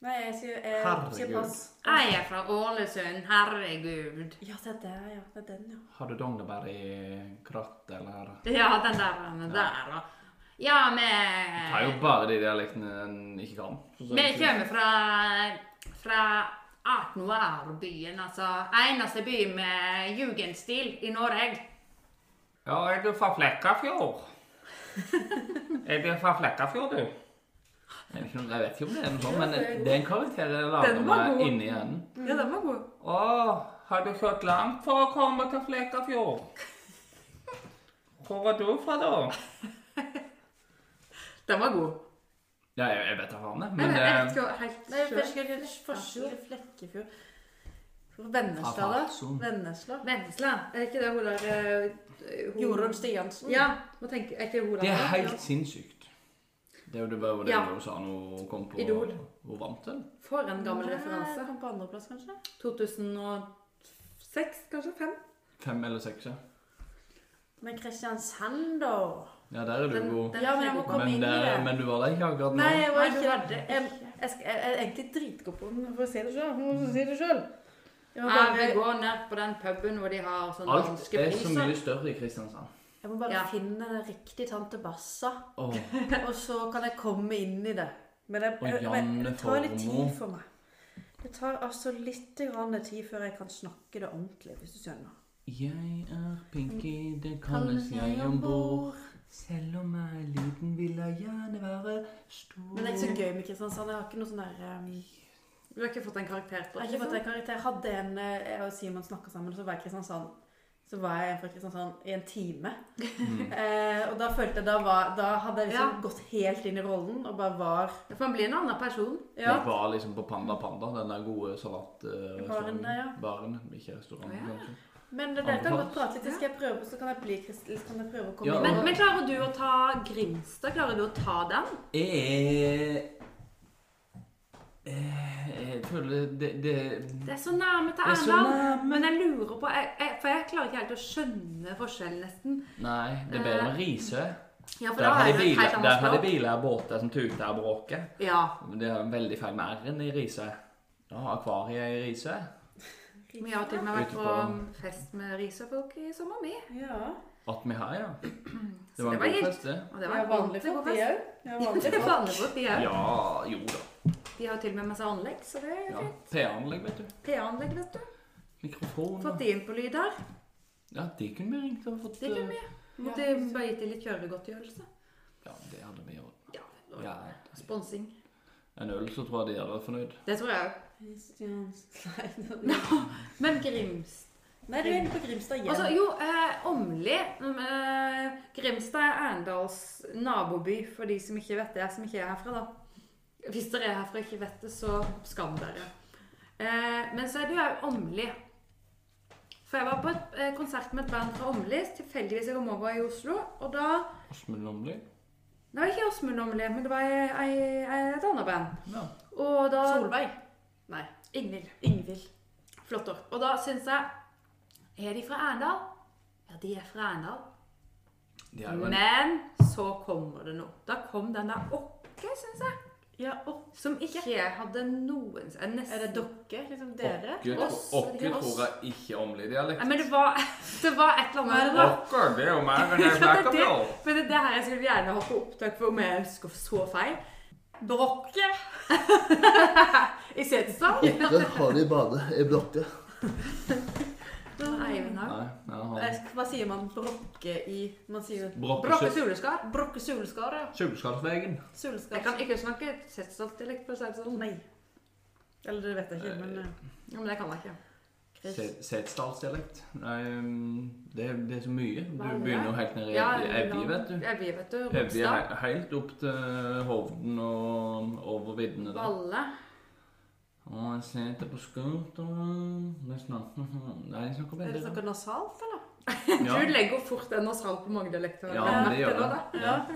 Speaker 3: Nei, jeg sier, jeg,
Speaker 4: Herregud.
Speaker 3: sier pass.
Speaker 2: Jeg er fra Ålesund, herregud.
Speaker 3: Ja, det er der, ja. Det er den, ja.
Speaker 4: Har du Dognebær i kratt, eller?
Speaker 2: Ja, den der, den der, da. Ja,
Speaker 4: Jeg tar jo
Speaker 2: vi
Speaker 4: bare de dialektene en ikke kan. Så-
Speaker 2: Vi kommer fra, fra Art Noir-byen, altså. Eneste by med jugendstil i Norge.
Speaker 4: Ja, er du fra
Speaker 2: (laughs)
Speaker 4: Flekkafjord? er du fra Flekkafjord, du? Jeg vet ikke om- jeg vet ikke om det er noe sånt, men det er en karakter jeg lager
Speaker 2: Den var
Speaker 4: meg
Speaker 2: god.
Speaker 4: inni hjernen.
Speaker 2: Ja, den var god.
Speaker 4: Å, har du kjørt langt for å komme til Flekkafjord? Hvor er du fra, da?
Speaker 2: Den var god.
Speaker 4: Ja, jeg, jeg vet da faen det,
Speaker 2: Jeg
Speaker 4: men eh,
Speaker 2: vet, jeg vet
Speaker 4: det
Speaker 2: ikke hva- helt
Speaker 3: Nei,
Speaker 2: sjøl.
Speaker 3: Forskjell Flekkefjord Vennesla, da.
Speaker 4: Fafason.
Speaker 3: Vennesla.
Speaker 2: Vennesla. Er ikke det hun der eh, hun-
Speaker 3: Jorunn Stiansen.
Speaker 2: Ja. Må tenke, er ikke hun der?
Speaker 4: Det er helt sinnssykt. Det er jo det bare det
Speaker 2: Ja.
Speaker 4: hun sa når hun kom på
Speaker 2: Idol.
Speaker 4: Hun vant den.
Speaker 2: For en gammel referanse.
Speaker 3: Kom på andreplass, kanskje?
Speaker 2: 2006, kanskje? 5?
Speaker 4: Fem eller seks, ja.
Speaker 3: Men Kristiansand, da?
Speaker 4: Ja, der er du god.
Speaker 3: Ja, men jeg må komme
Speaker 4: Men,
Speaker 3: inn i
Speaker 4: det,
Speaker 3: det.
Speaker 4: men du var der ikke akkurat nå.
Speaker 3: Nei, jeg var
Speaker 2: Nei, du
Speaker 3: ikke
Speaker 2: var det
Speaker 3: Jeg, jeg, skal- jeg er egentlig dritgod på den, for å si det sjøl. Må også si det sjøl. Jeg, må
Speaker 2: Jeg vil
Speaker 3: bare-
Speaker 2: gå ned på den puben hvor de har sånne
Speaker 4: Alt
Speaker 2: danske
Speaker 4: er så
Speaker 2: priser.
Speaker 4: mye større i Kristiansand.
Speaker 3: jeg må bare
Speaker 2: Ja.
Speaker 3: finne den riktige tante Bassa,
Speaker 4: Åh,
Speaker 3: og så kan jeg komme inn i det. Men jeg,
Speaker 4: Og
Speaker 3: jeg- men
Speaker 4: Janne
Speaker 3: det tar litt
Speaker 4: Formoe.
Speaker 3: tid for meg. Det tar altså litt grann tid før jeg kan snakke det ordentlig, hvis du skjønner.
Speaker 4: Jeg er Pinky, det kalles jeg om bord. Selv om jeg er liten, vil jeg gjerne være stor.
Speaker 3: Men det er ikke så gøy med Kristiansand. Jeg har Mm. ikke noe sånn der um,
Speaker 2: Du har ikke fått en karakter på
Speaker 3: Jeg har ikke fått en karakter. Jeg hadde en eh, Jeg og Simon snakka sammen, og så var jeg i Kristiansand. Så var jeg fra Kristiansand i en time. (laughs) Eh, og da følte jeg da, var, da hadde jeg liksom gått helt inn i rollen og bare var
Speaker 2: For man blir en annen person.
Speaker 3: Ja.
Speaker 4: Jeg var liksom på Panda Panda, den der gode salatrestauranten.
Speaker 3: Baren der, ja.
Speaker 4: Baren, ikke restauranten, kanskje.
Speaker 3: Men dere kan
Speaker 4: Anbefalt.
Speaker 3: godt prate litt, så skal jeg prøve, så kan jeg, bli, krist- kan jeg prøve å komme
Speaker 4: Ja,
Speaker 3: inn.
Speaker 2: Men, men klarer du å ta Grimstad? Klarer du å ta den?
Speaker 4: Jeg, jeg, Eh, jeg føler det, det
Speaker 2: Det er så nærme til
Speaker 4: er så
Speaker 2: Arendal. Men jeg lurer på jeg, jeg, For jeg klarer ikke helt å skjønne forskjellen, nesten.
Speaker 4: Nei, det er bedre enn Risø.
Speaker 2: Ja, for
Speaker 4: Der
Speaker 2: da
Speaker 4: har de
Speaker 2: er det et
Speaker 4: biler,
Speaker 2: helt
Speaker 4: der
Speaker 2: annet
Speaker 4: har de
Speaker 2: språk.
Speaker 4: biler og båter som tuter og bråker.
Speaker 2: Ja.
Speaker 4: Det er veldig feil med R-en i Risø. Ja, akvariet i Risøy.
Speaker 2: Vi har til og med vært
Speaker 4: Ute
Speaker 2: på
Speaker 4: på-
Speaker 2: fest med Risøfolk i sommer, vi.
Speaker 3: Ja.
Speaker 4: At vi har,
Speaker 2: (clears throat)
Speaker 4: ja.
Speaker 2: Så
Speaker 4: Det var
Speaker 2: det
Speaker 4: en
Speaker 2: var
Speaker 4: god
Speaker 2: helt-
Speaker 4: fest, det.
Speaker 2: Og det
Speaker 3: Jeg
Speaker 2: var
Speaker 3: er vanlig
Speaker 2: ordentlig god
Speaker 3: folk,
Speaker 2: fest.
Speaker 3: jeg òg. Jeg er (laughs) vanlig
Speaker 2: Det er
Speaker 3: folk.
Speaker 2: vanlig folk, de òg.
Speaker 4: Ja, jo da.
Speaker 2: De har jo til og med med seg anlegg, så det er
Speaker 4: Ja. PA-anlegg, vet du.
Speaker 2: PA-anlegg, vet du.
Speaker 4: Mikrofon.
Speaker 2: Fått de inn på lyd her.
Speaker 4: Ja, de kunne vi ringt og fått
Speaker 2: Det kunne
Speaker 4: eh,
Speaker 2: Måtte bare gitt de litt kjøregodtgjørelse.
Speaker 4: Ja, det hadde vi gjort.
Speaker 2: Ja, og
Speaker 4: Ja,
Speaker 2: Sponsing.
Speaker 4: en øl, så tror jeg de hadde vært fornøyd.
Speaker 2: Det tror jeg òg.
Speaker 3: Kristiansand.
Speaker 2: Men Grims
Speaker 3: Nei, du er inne på Grimstad igjen.
Speaker 2: Altså, jo, eh, Åmli eh, Grimstad er Arendals naboby, for de som ikke vet det, som ikke er herfra, da. Hvis dere er herfra og ikke vet det, så skam dere. Eh, men så er det jo òg Åmli. For jeg var på et eh, konsert med et band fra Åmli, tilfeldigvis jeg kom over i Oslo, og da
Speaker 4: Åsmund Lomli.
Speaker 2: Det var ikke Åsmund Åmli, men det var ei- ei- ei- et annet band.
Speaker 4: Ja.
Speaker 2: Og da
Speaker 3: Solveig.
Speaker 2: Ingvild.
Speaker 3: Ingvild.
Speaker 2: Flott år. Og da syns jeg Er de fra Arendal? Ja, de er fra Arendal.
Speaker 4: De har jo en
Speaker 2: Men så kommer det noe. Da kom den der Åkke, syns jeg.
Speaker 3: Ja, opp.
Speaker 2: Som ikke hadde noen eh, nesten-
Speaker 3: Er det dere? Liksom dere?
Speaker 4: Åkke
Speaker 2: Oss,
Speaker 4: Åkke
Speaker 2: de har
Speaker 4: tror jeg ikke omlig dialekt.
Speaker 2: Nei, men det var, (laughs) det var et eller annet det var-
Speaker 4: Åkke, det er jo mer enn
Speaker 2: (laughs)
Speaker 4: jeg
Speaker 2: Ja, det er
Speaker 4: snakker
Speaker 2: det.
Speaker 4: om.
Speaker 2: Men det, det her jeg skulle gjerne ha på opptak, for om jeg husker så feil Brokke i Setesdal.
Speaker 8: Åtte har de bade i blotte.
Speaker 2: Eivind her.
Speaker 4: Nei, nei,
Speaker 2: Eh,
Speaker 3: Jeg
Speaker 4: han
Speaker 3: sk- Eh, Hva sier man? Brokke i Man sier
Speaker 2: Brokke
Speaker 4: Brokke
Speaker 2: Suleskar.
Speaker 3: brokke suleskade.
Speaker 4: Sulskarvegen.
Speaker 2: Jeg
Speaker 3: Suleskade.
Speaker 2: kan ikke snakke Setesdal-dialekt, for å si det sånn.
Speaker 3: Nei. Eller det vet jeg ikke, men eh,
Speaker 2: Ja, men det kan jeg ikke.
Speaker 4: Setesdalsdialekt. Nei, um, det, er- det er så mye.
Speaker 2: Hva er
Speaker 4: Du
Speaker 2: det?
Speaker 4: begynner jo helt nede i
Speaker 2: Ja,
Speaker 4: Evje- Evje, vet du.
Speaker 2: Evje, vet du.
Speaker 4: Evje er
Speaker 2: Romsdal.
Speaker 4: he- helt opp til Hovden og over viddene der.
Speaker 2: Valle.
Speaker 4: Og jeg sitter på scooteren Det snakker Nei, jeg snakker
Speaker 3: Er det
Speaker 4: veldig
Speaker 3: noe nasalt, eller?
Speaker 4: Ja.
Speaker 2: sånn (laughs) Du legger jo fort en nasal på Molde-dialekten.
Speaker 4: Ja, men det gjør det. Ja.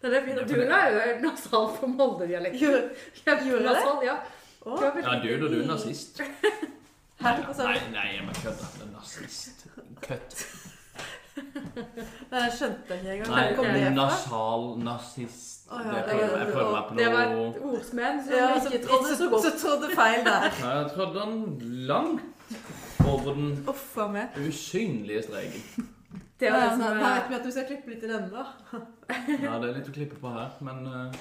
Speaker 2: Det er fint.
Speaker 4: Ja, for
Speaker 2: Du
Speaker 4: det-
Speaker 2: er jo nasal på Molde-dialekten.
Speaker 3: Gjør- gjør jeg det?
Speaker 2: Nasal, ja.
Speaker 3: Å. altså,
Speaker 2: Du er veldig-
Speaker 4: ja, du da, du er
Speaker 2: (laughs)
Speaker 4: nazist.
Speaker 3: Hæ? Hva sa du?
Speaker 4: Nei, nei, jeg må kødde. Du er nazist. Kødd.
Speaker 3: Nei, jeg skjønte ikke engang.
Speaker 4: Nei,
Speaker 3: Hvor kom det fra?
Speaker 4: nasal nazist.
Speaker 3: Å, ja,
Speaker 4: Det
Speaker 3: det
Speaker 4: prøver
Speaker 3: var-
Speaker 4: jeg prøver meg på
Speaker 2: Det var
Speaker 4: noe
Speaker 2: et ordsmenn som
Speaker 3: Ja,
Speaker 2: vi
Speaker 3: så,
Speaker 2: ikke trodde så godt.
Speaker 3: så trodde feil der.
Speaker 4: Nei, Jeg trådte den langt over den
Speaker 3: Uff a meg.
Speaker 4: usynlige streken.
Speaker 2: Det
Speaker 3: (laughs)
Speaker 2: var
Speaker 3: Ja,
Speaker 2: det som
Speaker 3: sånn,
Speaker 2: var-
Speaker 3: da vet vi at vi skal klippe litt i denne, da.
Speaker 4: Ja, det er litt å klippe på her, men eh,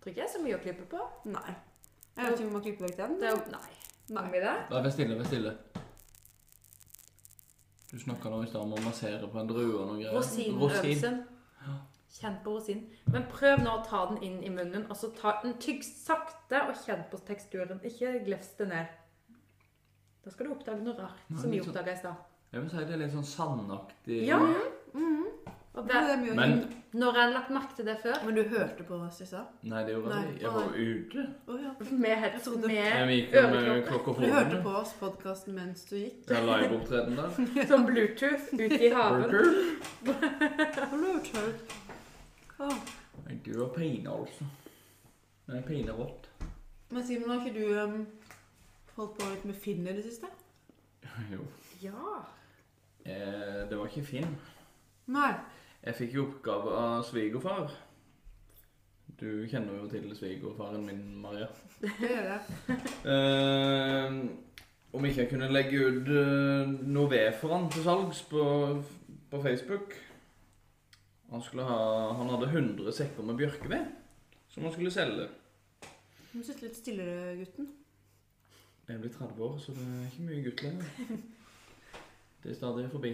Speaker 2: tror ikke jeg er så mye å klippe på.
Speaker 3: Nei. Jeg vet ikke om vi må klippe vekk den.
Speaker 2: Det er jo Nei. Nei. Med det?
Speaker 4: Nei, vær stille, vær stille. Du snakka nå i stad om å massere på en drue og noe greier.
Speaker 2: Rosinøvelsen. Kjenn på rosin. Men prøv nå å ta den inn i munnen. Og så ta den tygg sakte, og kjenn på teksturen. Ikke glefs det ned. Da skal du oppdage noe rart,
Speaker 4: Nei,
Speaker 2: som vi
Speaker 4: litt sånn-
Speaker 2: oppdaga i stad.
Speaker 4: Jeg vil si det er litt sånn sandaktig.
Speaker 2: Ja. Og
Speaker 3: Mm, Det
Speaker 2: det,
Speaker 3: er mye å
Speaker 4: Men
Speaker 2: når jeg har lagt merke til det før,
Speaker 3: Men du hørte på oss i stad?
Speaker 4: Nei, det gjorde jeg
Speaker 3: Nei.
Speaker 4: ikke. Jeg var jo ute.
Speaker 3: Å ja.
Speaker 2: med,
Speaker 3: Jeg
Speaker 2: head-
Speaker 3: trodde-
Speaker 4: Jeg
Speaker 2: med
Speaker 4: gikk jo med
Speaker 2: øreklokke
Speaker 4: klokka
Speaker 3: Du hørte
Speaker 4: hodene.
Speaker 3: på oss podkasten mens du gikk?
Speaker 4: Jeg
Speaker 3: (laughs)
Speaker 4: liveopptreden der.
Speaker 2: som sånn Bluetooth ut i haven.
Speaker 4: Burger.
Speaker 3: Lurt, hørt. Å.
Speaker 4: Nei, Du var pine, altså. Nei, pine rått. (laughs)
Speaker 3: Men Simen, har ikke du um, holdt på litt med Finn i det siste?
Speaker 4: Jo.
Speaker 2: Ja.
Speaker 4: Eh, det var ikke Finn.
Speaker 3: Nei.
Speaker 4: Jeg fikk jo oppgave av svigerfar. Du kjenner jo til svigerfaren min, Maria.
Speaker 3: Det gjør jeg.
Speaker 4: Eh, om ikke jeg kunne legge ut eh, noe ved for han til salgs på, på Facebook. Han, skulle ha, han hadde 100 sekker med bjørkeved som han skulle selge.
Speaker 3: Du sitter litt stillere, gutten.
Speaker 4: Jeg blir 30 år, så det er ikke mye gutt lenger.
Speaker 3: (laughs)
Speaker 4: Det er stadig forbi.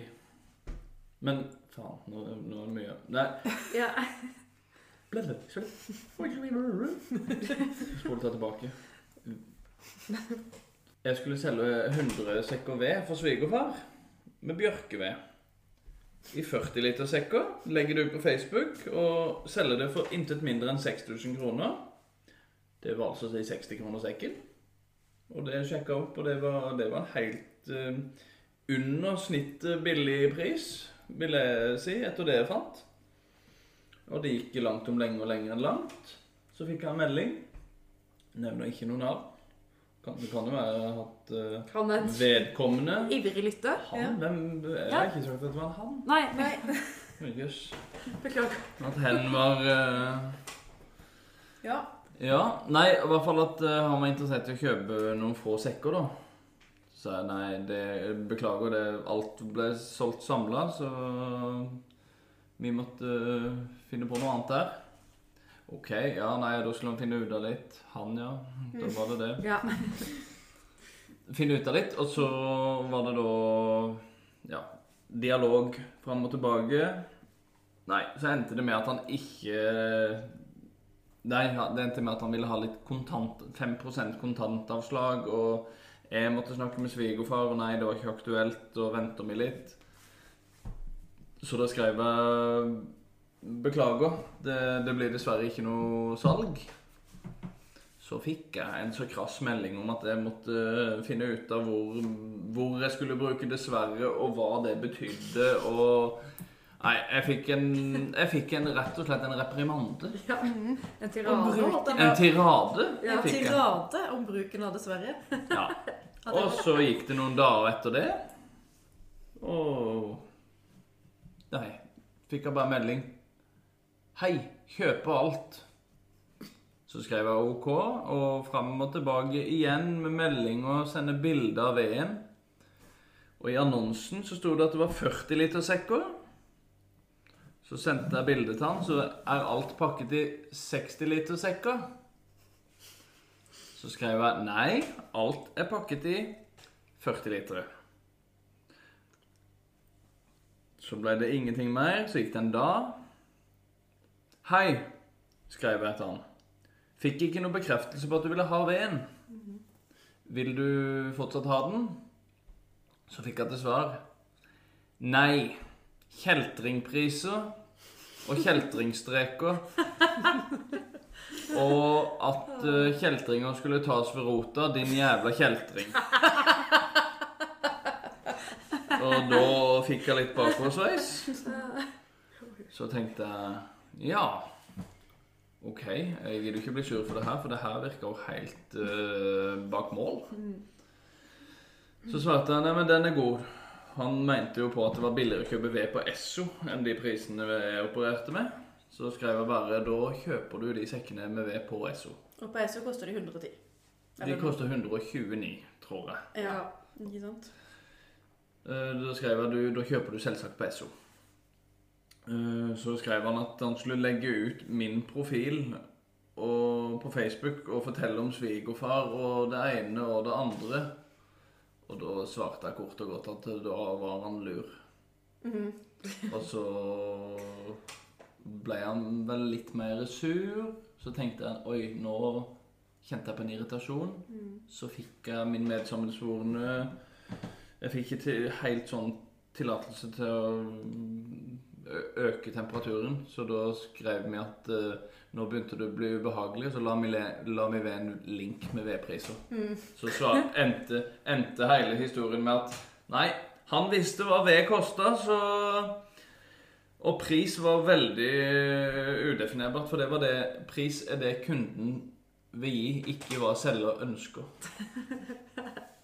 Speaker 4: Men faen, nå, nå er det mye Nei.
Speaker 2: ja.
Speaker 4: Blødde. Sorry. Spol ta tilbake. Jeg skulle selge 100 sekker ved for svigerfar med bjørkeved. I 40 liter sekker. Legger det ut på Facebook og selger det for intet mindre enn 6000 kroner. Det var altså de 60 kroner sekken. Og det sjekka opp, og det var, det var en helt eh, under snittet billig pris, vil jeg si, etter det jeg fant. Og det gikk langt om lenge og lenger enn langt. Så fikk jeg en melding. Nevner ikke noe navn. Kan, det kan jo være at eh,
Speaker 2: Kan en
Speaker 4: vedkommende
Speaker 2: ivrig lytter?
Speaker 4: Han? Hvem? Jeg
Speaker 2: Ja.
Speaker 4: har ikke sagt at det var en han.
Speaker 2: Nei, nei,
Speaker 4: Men Jøss.
Speaker 2: beklager.
Speaker 4: At hen var eh,
Speaker 3: Ja.
Speaker 4: Ja. Nei, i hvert fall at eh, han var interessert i å kjøpe noen få sekker, da. Så sa jeg nei, det, beklager, det, alt ble solgt samla, så vi måtte eh, finne på noe annet der. OK, ja, nei, da skulle han finne ut av litt. Han, ja. Da var det det.
Speaker 2: Ja.
Speaker 4: finne ut av litt. Og så var det da ja, dialog fram og tilbake. Nei, så endte det med at han ikke Nei, han- det endte med at han ville ha litt kontant, 5 kontantavslag. Og jeg måtte snakke med svigerfar, og nei, det var ikke aktuelt, og venta vi litt. Så da skrev jeg Beklager, det, det blir dessverre ikke noe salg. Så fikk jeg en så krass melding om at jeg måtte eh, finne ut av hvor, hvor jeg skulle bruke 'dessverre', og hva det betydde, og Nei, jeg fikk en, jeg fikk en rett og slett en reprimande.
Speaker 2: Ja. En
Speaker 3: Om
Speaker 2: tirade.
Speaker 3: bruken
Speaker 4: En
Speaker 3: av,
Speaker 4: tirade
Speaker 2: Ja,
Speaker 4: fikk jeg.
Speaker 3: tirade om bruken av dessverre.
Speaker 4: Ja. Og så gikk det noen dager etter det. Og Nei. Fikk jeg bare melding. Hei, kjøper alt. Så skrev jeg OK, og fram og tilbake igjen med melding og sende bilder av veden. Og i annonsen så sto det at det var 40 liter sekker. Så sendte jeg bilde til han, så er alt pakket i 60 liter sekker. Så skrev jeg nei, alt er pakket i 40 liter. Så ble det ingenting mer, så gikk det en dag. Hei, skrev jeg til han. Fikk ikke noe bekreftelse på at du ville ha veden. Vil du fortsatt ha den? Så fikk jeg til svar. Nei. Kjeltringpriser og kjeltringstreker. Og at eh, kjeltringer skulle tas ved rota. Din jævla kjeltring. Og da fikk jeg litt bakoversveis. Så tenkte jeg ja. OK, jeg gidder ikke bli sur for det her, for det her virker jo helt eh, bak mål. Så svarte han nei, men den er god. Han mente jo på at det var billigere å kjøpe ved på Esso enn de prisene jeg opererte med. Så skrev jeg bare da kjøper du de sekkene med ved på Esso.
Speaker 3: Og på ESO koster de 110.
Speaker 4: De koster 129, tror jeg.
Speaker 3: Ja, ikke sant?
Speaker 4: Eh, Da skrev jeg du, da kjøper du selvsagt på Esso. Eh, Så skrev han at han skulle legge ut min profil og, på Facebook og fortelle om svigerfar og det ene og det andre. Og da svarte jeg kort og godt at da var han lur. og så ble han vel litt mer sur. Så tenkte jeg oi, nå kjente jeg på en irritasjon. Så fikk jeg min medsammensvorne jeg fikk ikke til, helt sånn tillatelse til å ø- øke temperaturen, så da skrev vi at eh, nå begynte det å bli ubehagelig, så la vi, le, la vi ved en link med vedpriser. Så svar, endte, endte hele historien med at nei, han visste hva ved kosta, så Og pris var veldig eh, udefinerbart, for det var det pris er det kunden vil gi, ikke hva selger ønsker.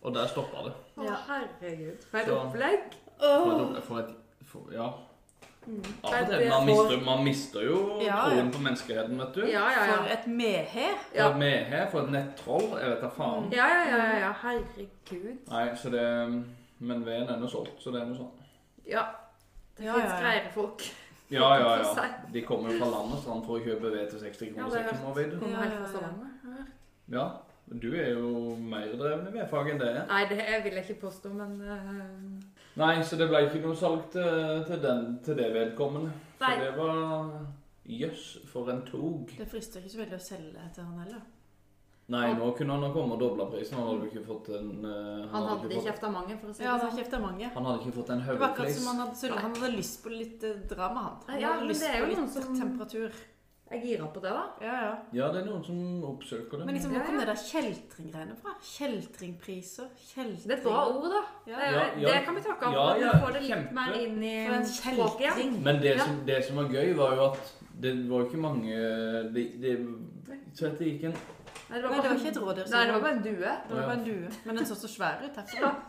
Speaker 4: Og der stoppa det.
Speaker 2: Å, herregud. For et
Speaker 4: Så-
Speaker 2: opplegg.
Speaker 4: For et, opp- for et, for, ja. Av og
Speaker 2: Mm. Det
Speaker 4: til.
Speaker 2: er
Speaker 4: Man
Speaker 2: for-
Speaker 4: mister, man mister jo
Speaker 3: Ja, ja.
Speaker 4: troen på menneskeheten, vet du.
Speaker 2: Ja, ja, ja.
Speaker 3: For et medhe.
Speaker 2: Ja. Mm.
Speaker 4: For medhe, for et nettroll. Jeg vet da faen.
Speaker 2: Ja, ja, ja, ja, ja. Herregud.
Speaker 4: Nei, så det Men veden er nå solgt, så det er noe sånn.
Speaker 2: Ja. Det
Speaker 3: Ja,
Speaker 2: fins
Speaker 3: ja, ja.
Speaker 2: greiere folk.
Speaker 4: Ja, ja,
Speaker 2: for
Speaker 4: ja.
Speaker 2: seg.
Speaker 4: De kommer jo fra land og strand for å kjøpe ved til 60
Speaker 2: Ja,
Speaker 4: kroner
Speaker 2: det har jeg
Speaker 4: sekken, må vi vite.
Speaker 2: Kommer
Speaker 3: Ja,
Speaker 2: helt
Speaker 3: ja,
Speaker 2: fra
Speaker 3: ja.
Speaker 2: Stavanger. har jeg hørt.
Speaker 4: Ja. Du er jo mer dreven i vedfag enn det er.
Speaker 2: Nei, det vil jeg ikke påstå, men eh,
Speaker 4: Nei, så det ble ikke noe salg til, til, den, til det vedkommende. Så
Speaker 2: Nei.
Speaker 4: det var Jøss, for en tog.
Speaker 3: Det frister ikke så veldig å selge til han heller.
Speaker 4: Nei, nå kunne han ha kommet og dobla prisen. Han hadde jo ikke fått en eh,
Speaker 2: Han
Speaker 4: ikke
Speaker 2: hadde det
Speaker 4: fått-
Speaker 2: i kjeftamangen, for å si
Speaker 3: Ja,
Speaker 2: det
Speaker 3: han
Speaker 2: sånn.
Speaker 3: kjefter mange.
Speaker 4: Han hadde ikke fått en
Speaker 3: Det var akkurat som han
Speaker 4: haugepris.
Speaker 3: hadde, så han hadde lyst på litt eh, drama, han. han
Speaker 2: Ja,
Speaker 3: hadde
Speaker 2: men
Speaker 3: lyst
Speaker 2: det
Speaker 3: på
Speaker 2: er jo
Speaker 3: litt
Speaker 2: noen som-
Speaker 3: temperatur.
Speaker 2: Jeg gira på det, da.
Speaker 3: Ja, ja.
Speaker 4: Ja, det er noen som oppsøker det.
Speaker 3: Men liksom,
Speaker 2: Ja,
Speaker 3: hvor kom
Speaker 2: ja.
Speaker 3: det der kjeltringgreiene fra? Kjeltringpriser? Kjeltring
Speaker 2: Det er et bra ord, da.
Speaker 3: Ja.
Speaker 2: Det,
Speaker 4: Ja, ja.
Speaker 2: det kan vi takke av
Speaker 4: Ja,
Speaker 2: for. at
Speaker 4: ja,
Speaker 2: Vi får det litt
Speaker 4: kjempe.
Speaker 2: mer inn i
Speaker 3: For en
Speaker 2: språket. ja.
Speaker 3: kjeltring.
Speaker 4: Men det,
Speaker 2: Ja.
Speaker 4: som, det som var gøy, var jo at det var jo ikke mange det, det, Så at det gikk en
Speaker 2: Nei,
Speaker 3: Nei, det var ikke et rådyr.
Speaker 2: Nei, det var bare en due.
Speaker 3: det var bare en due. Men den så så svær ut herfra.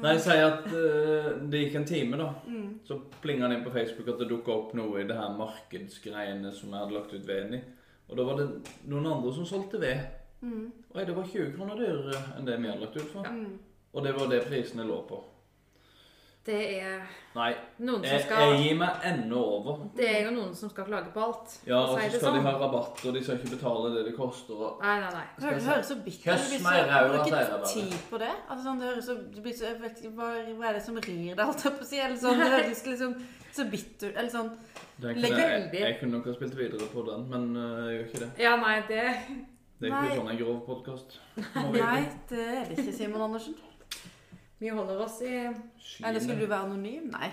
Speaker 4: Nei, si at eh, det gikk en time, da.
Speaker 3: Mm.
Speaker 4: Så plinga han inn på Facebook at det dukka opp noe i det her markedsgreiene som jeg hadde lagt ut veden i. Og da var det noen andre som solgte ved.
Speaker 3: Mm.
Speaker 4: Oi, det var 20 kroner dyrere enn det vi hadde lagt ut for. Og det var det prisene lå på.
Speaker 2: Det er
Speaker 4: Nei,
Speaker 2: noen som
Speaker 4: jeg, jeg
Speaker 2: skal
Speaker 4: gir meg ennå over.
Speaker 2: Det er jo noen som skal klage på alt.
Speaker 4: Ja,
Speaker 2: for å
Speaker 4: og
Speaker 2: si
Speaker 4: så
Speaker 2: det
Speaker 4: skal de
Speaker 2: sånn.
Speaker 4: ha rabatt, og de skal ikke betale det det koster. Og...
Speaker 2: Nei, nei, nei.
Speaker 3: Det høres så bitter ut.
Speaker 4: Kjøss
Speaker 3: Du blir
Speaker 4: meg i
Speaker 3: så-
Speaker 4: ræva,
Speaker 3: bruker
Speaker 4: sier jeg bare.
Speaker 3: tid på det. Altså, sånn, det høres så, du blir så jeg vet ikke, hva, hva er det som rir deg, holdt jeg på å si? Eller sånn, det høres liksom så bitter ut. Eller sånn
Speaker 4: Den
Speaker 3: Legg
Speaker 4: kunne, jeg,
Speaker 2: veldig.
Speaker 4: jeg kunne nok ha spilt videre på den, men øh, jeg gjør ikke det.
Speaker 2: Ja, nei, det
Speaker 4: Det er ikke
Speaker 3: Nei.
Speaker 4: sånn en grov
Speaker 2: (laughs)
Speaker 4: podkast.
Speaker 3: Nei, det er det ikke, Simon Andersen.
Speaker 2: Vi holder oss i
Speaker 3: Eller skulle du være anonym? Nei.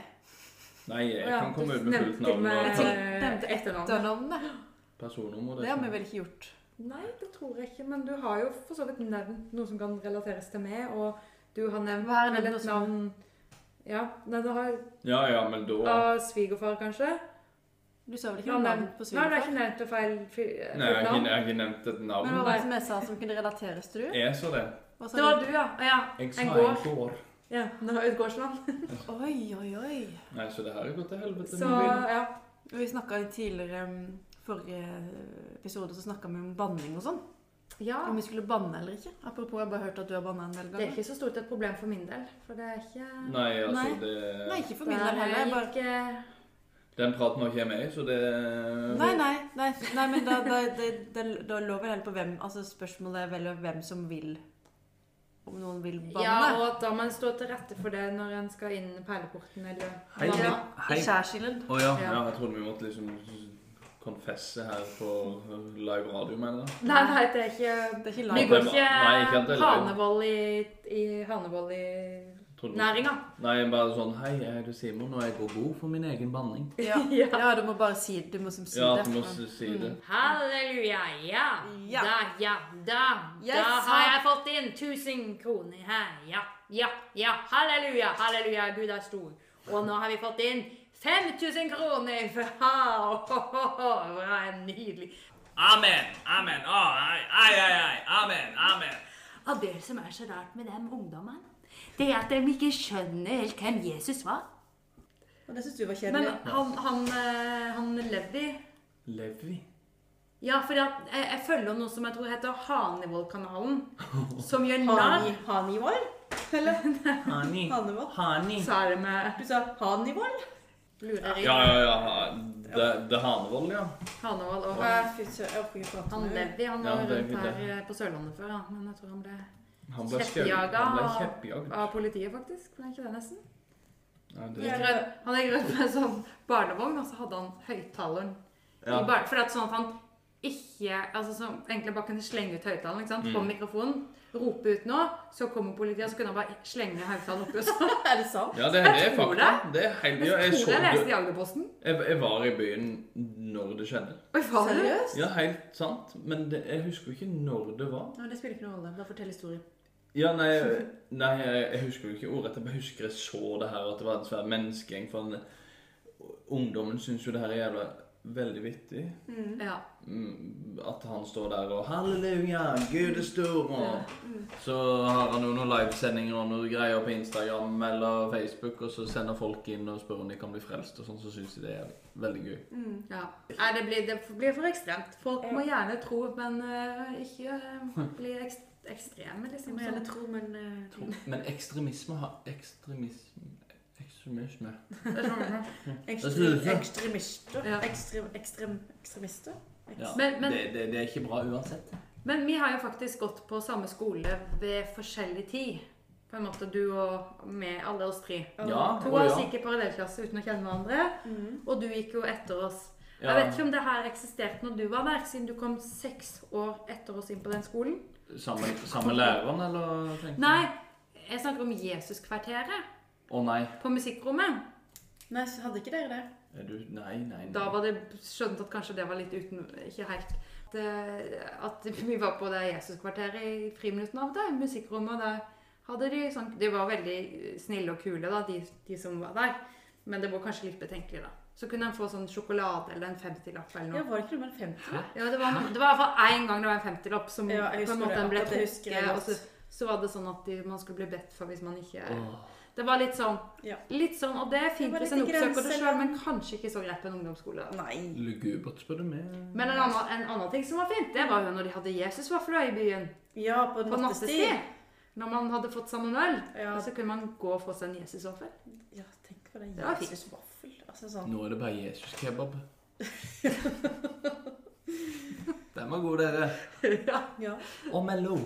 Speaker 4: Nei, jeg
Speaker 2: Ja,
Speaker 4: kan komme ut
Speaker 2: du
Speaker 4: med fullt
Speaker 2: nevnte
Speaker 4: navn
Speaker 2: med-
Speaker 4: og sånn.
Speaker 2: Eh,
Speaker 3: Nevnte
Speaker 2: etternavnet.
Speaker 3: etternavnet.
Speaker 4: personnummer. sånn.
Speaker 3: Det har vi
Speaker 4: ikke-
Speaker 3: vel ikke gjort.
Speaker 2: Nei, det tror jeg ikke. Men du har jo for så vidt nevnt noe som kan relateres til meg, og du har nevnt
Speaker 3: Hva er det
Speaker 2: vel
Speaker 3: noe
Speaker 2: et
Speaker 3: som-
Speaker 2: navn Ja, nei, det har
Speaker 4: Ja, ja, men da
Speaker 2: av svigerfar, kanskje?
Speaker 3: Du sa vel
Speaker 2: Du
Speaker 3: ikke
Speaker 2: har
Speaker 3: noe navn
Speaker 2: nevnt-
Speaker 3: på
Speaker 2: Nei, du har
Speaker 3: svigerfar?
Speaker 2: ikke nevnt det feil fi-
Speaker 4: Nei, jeg har ikke-
Speaker 2: fullt navn.
Speaker 4: jeg har ikke nevnt et navn.
Speaker 3: Men hva var det som jeg sa som kunne relateres til du?
Speaker 4: Jeg sa det.
Speaker 3: Hva sa
Speaker 2: Det var
Speaker 3: du?
Speaker 2: du, ja. ja.
Speaker 4: Jeg sa
Speaker 2: En
Speaker 4: en
Speaker 2: gård.
Speaker 4: gård.
Speaker 2: Ja, nå er Utgårdsland.
Speaker 3: Oi, oi, oi.
Speaker 4: Nei, så det her går til helvete.
Speaker 2: Så
Speaker 4: med bilen.
Speaker 2: ja.
Speaker 3: Og Vi snakka i tidligere mm, forrige episode så snakka vi om banning og sånn.
Speaker 2: ja.
Speaker 3: Om vi skulle banne eller ikke. Apropos, jeg har bare hørt at du har banna en del
Speaker 2: Det er
Speaker 3: ganger.
Speaker 2: ikke så stort et problem for min del, for det er ikke
Speaker 4: Nei, altså,
Speaker 3: Nei.
Speaker 4: det
Speaker 3: Nei, ikke for min del heller.
Speaker 2: Der
Speaker 3: jeg Bare...
Speaker 2: gikk eh,
Speaker 4: Den praten var ikke jeg med i, så det
Speaker 3: Nei, nei, nei, nei, men da, da, det, det, da lå vel heller på hvem Altså Spørsmålet er vel hvem som vil Om noen vil banne.
Speaker 2: Ja, og at da må en stå til rette for det når en skal inn perleporten eller
Speaker 4: Hei,
Speaker 2: Ja.
Speaker 4: hei.
Speaker 3: I
Speaker 4: hei.
Speaker 3: skjærsilden.
Speaker 4: Å ja.
Speaker 2: Ja.
Speaker 4: ja, jeg trodde vi måtte liksom konfesse her på live radio, mener jeg.
Speaker 2: Nei, nei, det er ikke
Speaker 3: Det er ikke
Speaker 2: Vi
Speaker 4: Nei,
Speaker 3: live.
Speaker 2: går
Speaker 4: det var-
Speaker 2: ikke
Speaker 4: nei, ikke at det er live.
Speaker 2: hanevoll i, i hanevoll i
Speaker 4: Trodde vi-
Speaker 2: næringa.
Speaker 4: Nei, bare sånn Hei, jeg heter Simon, og jeg går god for min egen banning.
Speaker 3: (laughs) Ja.
Speaker 2: Ja.
Speaker 3: ja, du må bare si Du må som si
Speaker 4: Ja,
Speaker 3: det.
Speaker 4: at du må si det.
Speaker 2: Halleluja, ja.
Speaker 3: Ja.
Speaker 2: Da, ja, da.
Speaker 3: Jeg
Speaker 2: da
Speaker 3: sa-
Speaker 2: har jeg fått inn 1000 kroner her. Ja, ja, ja. Halleluja, halleluja, Gud er stor. Og nå har vi fått inn 5000 kroner (laughs) fra, fra en nydelig
Speaker 5: Amen, amen, Oh, å, ai, ai, ai, ai, amen, amen.
Speaker 2: Og det som er så rart med dem ungdommene, det er at de ikke skjønner helt hvem Jesus var.
Speaker 3: Og det syns du var
Speaker 2: Men han, han, eh, han Levi Mm.
Speaker 4: Levi.
Speaker 2: Ja, for jeg, jeg følger noe som jeg tror heter
Speaker 4: (laughs)
Speaker 2: Hanevollkanalen. Som gjør narr
Speaker 3: Hanivål? Eller (laughs)
Speaker 4: Hani.
Speaker 3: Hanevål?
Speaker 4: Hani.
Speaker 2: Sa det med
Speaker 3: Du sa Hanivål? Lurer jeg.
Speaker 4: Ja, ja, ja. ha- Det, det er Hanevold, ja.
Speaker 2: Hanevoll. Og eh,
Speaker 3: Fy søren, jeg orker ikke prate
Speaker 2: han
Speaker 3: med henne.
Speaker 2: Levi han
Speaker 4: Ja,
Speaker 2: var
Speaker 4: det er
Speaker 2: rundt
Speaker 4: fint, det.
Speaker 2: her eh, på Sørlandet før, ja. men jeg tror han ble
Speaker 4: Han ble skau-
Speaker 2: Kjeppjaga.
Speaker 4: Han ble kjeppjagd.
Speaker 2: av politiet, faktisk. Var ikke det nesten?
Speaker 4: Ja, det-
Speaker 2: Gikk rundt- Han gikk rundt med en sånn barnevogn, og så hadde han høyttaleren.
Speaker 4: Ja.
Speaker 2: i bar- For det er sånn at han ikke altså så Egentlig bare kunne slenge ut høyttaleren ikke
Speaker 4: Mm.
Speaker 2: sant, på mikrofonen. Rope ut nå, så kommer politiet, og så kunne han bare slenge høyttaleren oppi. og så-
Speaker 3: Er det sant?
Speaker 4: Ja, det, det er
Speaker 2: Jeg tror
Speaker 4: fakta. Det er helt,
Speaker 2: (laughs)
Speaker 4: ja, jeg,
Speaker 2: Jeg
Speaker 4: så,
Speaker 2: tror jeg leste
Speaker 4: det.
Speaker 2: i Agderposten.
Speaker 4: jeg, jeg var i byen når det skjedde.
Speaker 2: Oi, faen.
Speaker 3: Seriøst?
Speaker 4: Ja, helt sant. Men det, jeg husker jo ikke når det var.
Speaker 3: Nei, det spiller ikke noen rolle. Bare fortell historien.
Speaker 4: Ja, nei, nei jeg, jeg husker jo ikke ordrett. Jeg bare husker jeg så det her, at det var en svær menneskegjeng. For en, ungdommen syns jo det her er jævla veldig vittig.
Speaker 2: Ja.
Speaker 4: Mm, At han står der og 'Halleluja, Gud er stor'. Og så har han jo noen livesendinger og noen greier på Instagram eller Facebook, og så sender folk inn og spør om de kan bli frelst, og sånn, så syns de det er veldig
Speaker 2: (laughs)
Speaker 4: gøy.
Speaker 2: ja. Nei, det, blir, det blir for ekstremt. Folk må gjerne tro, men øh, ikke øh, bli ekst, ekstreme, liksom.
Speaker 3: må gjerne
Speaker 2: Sånn.
Speaker 3: tro, men eh,
Speaker 4: Men ekstremisme har Ekstremisme Ekstremisme
Speaker 3: ekstrem, ekstremister
Speaker 2: Ja.
Speaker 3: ekstrem, ekstrem, Ekstremister?
Speaker 4: ja.
Speaker 2: (laughs) Men- men-
Speaker 4: det, det, det er ikke bra uansett.
Speaker 2: Men vi har jo faktisk gått på samme skole ved forskjellig tid. På en måte du og med alle oss tre.
Speaker 4: Ja,
Speaker 2: To
Speaker 4: og ja.
Speaker 2: av oss gikk i parallellklasse uten å kjenne hverandre,
Speaker 3: Mm.
Speaker 2: og du gikk jo etter oss.
Speaker 4: Ja.
Speaker 2: Jeg vet ikke om det her eksisterte når du var der, siden du kom seks år etter oss inn på den skolen.
Speaker 4: Samme, samme læreren, eller? tenkte du?
Speaker 2: Nei, jeg snakker om Jesuskvarteret
Speaker 4: Å nei.
Speaker 2: på musikkrommet.
Speaker 3: Nei, så hadde ikke dere det?
Speaker 4: Er du Nei, nei. nei.
Speaker 2: Da var det skjønt at kanskje det var litt uten Ikke helt. Det, at vi var på det Jesuskvarteret i friminuttene av og til, i musikkrommet. og Der hadde de sånn De var veldig snille og kule, da, de, de som var der. Men det var kanskje litt betenkelig, da. Så kunne en få sånn sjokolade eller en 50-lapp eller
Speaker 3: Ja,
Speaker 2: noe.
Speaker 3: Var det ikke noe med 50?
Speaker 2: Ja, det, var, no- det var i hvert fall én gang det var en 50-lapp som
Speaker 3: Ja, jeg
Speaker 2: på en
Speaker 3: husker
Speaker 2: måte
Speaker 3: det.
Speaker 2: en ble
Speaker 3: Akkurat det husker jeg
Speaker 2: trukket. Og
Speaker 3: godt.
Speaker 2: så, så var det sånn at de, man skulle bli bedt for hvis man ikke Det var litt sånn.
Speaker 3: Ja.
Speaker 2: Litt sånn, Og det er fint
Speaker 3: Det var
Speaker 2: hvis en
Speaker 3: litt
Speaker 2: oppsøker det
Speaker 3: grenser,
Speaker 2: sjøl, men kanskje ikke så greit på en ungdomsskole. da.
Speaker 3: Nei.
Speaker 4: Lugubert, spør du meg.
Speaker 2: Men en annen, en annen ting som var fint, det var jo når de hadde Jesusvafler i byen.
Speaker 3: Ja, på
Speaker 2: På
Speaker 3: nattestid.
Speaker 2: nattestid. Når man hadde fått sammen øl,
Speaker 3: Ja.
Speaker 2: og så kunne man gå og få seg en Jesusvaffel.
Speaker 3: Ja, tenk på det.
Speaker 2: Det var fint.
Speaker 3: Jesus vaffel. Altså sånn.
Speaker 4: Nå er det bare Jesus-kebab. Den var god, dere.
Speaker 3: (laughs)
Speaker 4: Mm,
Speaker 3: Ja.
Speaker 4: Og Mello.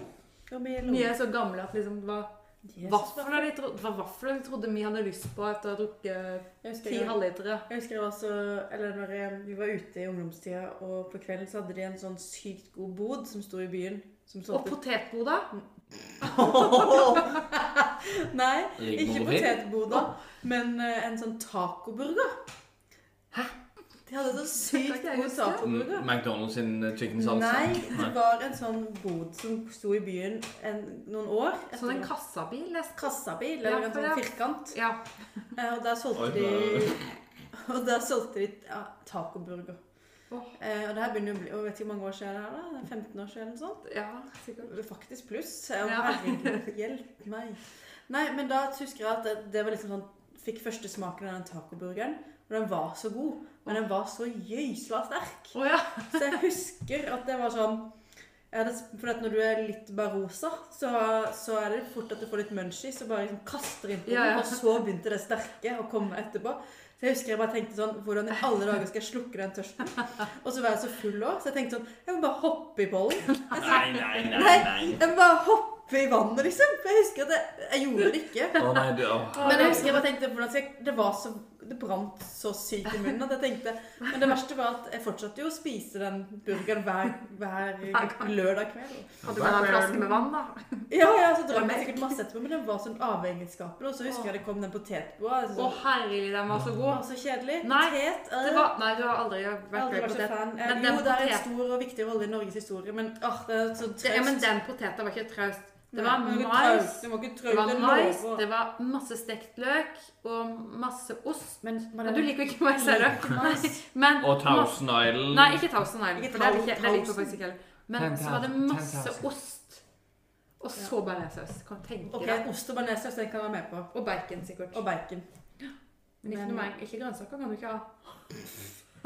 Speaker 3: Ja, med
Speaker 2: Vi er så gamle at liksom det var
Speaker 3: Jesus
Speaker 2: vafler de, tro, det var vafler de trodde vi hadde lyst på etter å ha drukket eh,
Speaker 3: Jeg husker
Speaker 2: ti
Speaker 3: jeg-
Speaker 2: halvlitere.
Speaker 3: Jeg husker jeg var så, eller når jeg- vi var ute i ungdomstida, og på kvelden så hadde de en sånn sykt god bod som sto i byen. Som
Speaker 2: Og
Speaker 3: solgte
Speaker 2: potetboda.
Speaker 3: Mm, Nei, ikke
Speaker 4: Rigmor Hill.
Speaker 3: potetboda, men eh, en sånn tacoburger. Hæ? De hadde (laughs) så sykt
Speaker 2: ikke jeg
Speaker 3: god
Speaker 2: huske.
Speaker 3: tacoburger.
Speaker 5: McDonald's sin chicken salsa.
Speaker 3: Nei, det var en sånn bod som sto i byen en, noen år. etter
Speaker 2: Sånn en
Speaker 3: noen-
Speaker 2: kassabil. nesten.
Speaker 3: kassabil,
Speaker 2: Ja,
Speaker 3: eller en
Speaker 2: for
Speaker 3: sånn
Speaker 2: det-
Speaker 3: firkant.
Speaker 2: Ja.
Speaker 3: Eh, Og der solgte
Speaker 4: Oi,
Speaker 3: de (laughs) Og der solgte de ja, tacoburger.
Speaker 2: Åh.
Speaker 3: Eh, og det her begynner jo å bli og Vet ikke hvor mange år siden det er, da? 15 år siden eller noe sånt?
Speaker 2: ja, sikkert.
Speaker 3: Faktisk pluss. Ja,
Speaker 2: Ja.
Speaker 3: Herregud, hjelp meg. Nei, men da husker jeg at det, det var liksom sånn Fikk første smaken av den tacoburgeren. Og den var så god, men den var så gøysla sterk.
Speaker 2: Å ja.
Speaker 3: Så jeg husker at det var sånn jeg hadde, For at når du er litt barosa, så, så er det fort at du får litt munchies og bare liksom kaster inn på den.
Speaker 2: Ja, ja.
Speaker 3: Og så begynte det sterke å komme etterpå. Så jeg husker jeg bare tenkte sånn Hvordan i alle dager skal jeg slukke den tørsten? Og så var jeg så full òg, så jeg tenkte sånn Jeg må bare hoppe i pollen.
Speaker 4: Nei, nei, nei.
Speaker 3: Nei,
Speaker 4: nei.
Speaker 3: jeg må bare hoppe i vannet, liksom. For jeg husker at jeg, jeg gjorde det ikke.
Speaker 4: Å nei, du, å.
Speaker 3: Men jeg husker jeg bare tenkte hvordan skal jeg, Det var så Det brant så sykt i munnen at jeg tenkte Men det verste var at jeg fortsatte jo å spise den burgeren hver,
Speaker 2: (laughs)
Speaker 3: hver lørdag kveld.
Speaker 2: Hadde bare en flaske med vann, da.
Speaker 3: Ja, ja, så drakk jeg sikkert masse etterpå, men den var sånn avegenskapelig. Og så husker jeg det kom den potetboa.
Speaker 2: Å,
Speaker 3: Altså,
Speaker 2: herregud, den var så
Speaker 3: det
Speaker 2: god.
Speaker 3: var så kjedelig.
Speaker 2: Nei,
Speaker 3: Potet øh,
Speaker 2: Det var, nei, du har aldri
Speaker 3: Aldri
Speaker 2: vært glad i
Speaker 3: vært så
Speaker 2: potet.
Speaker 3: fan. Eh,
Speaker 2: Men den
Speaker 3: Jo, det er en
Speaker 2: potet-
Speaker 3: stor og viktig rolle i Norges historie, men åh, det er så traust.
Speaker 2: Det, ja, men den poteten var ikke traust. Det var
Speaker 3: Nei, det var ikke
Speaker 2: mais.
Speaker 3: traust. Det var ikke
Speaker 2: Det var
Speaker 3: traust.
Speaker 2: mais,
Speaker 3: lover.
Speaker 2: det var masse stekt løk og masse ost.
Speaker 3: Men Mm.
Speaker 2: Men du liker jo ikke mais, ser du. Nei, (laughs) Men
Speaker 4: Og Thousand Island.
Speaker 2: Nei, ikke Thousand Island.
Speaker 3: Ikke
Speaker 2: For det er ikke, det liker jeg
Speaker 3: Thousand.
Speaker 2: faktisk ikke heller. Men
Speaker 4: Ten
Speaker 2: så var det
Speaker 4: thousand, ten
Speaker 2: masse
Speaker 4: thousand.
Speaker 2: ost. Og så bearnéssaus. Kan du tenke
Speaker 3: Ok,
Speaker 2: deg.
Speaker 3: ost og bearnéssaus, det kan jeg være med på.
Speaker 2: Og bacon, sikkert.
Speaker 3: Og bacon.
Speaker 2: Men ikke, noe mer, ikke grønnsaker kan du ikke ha.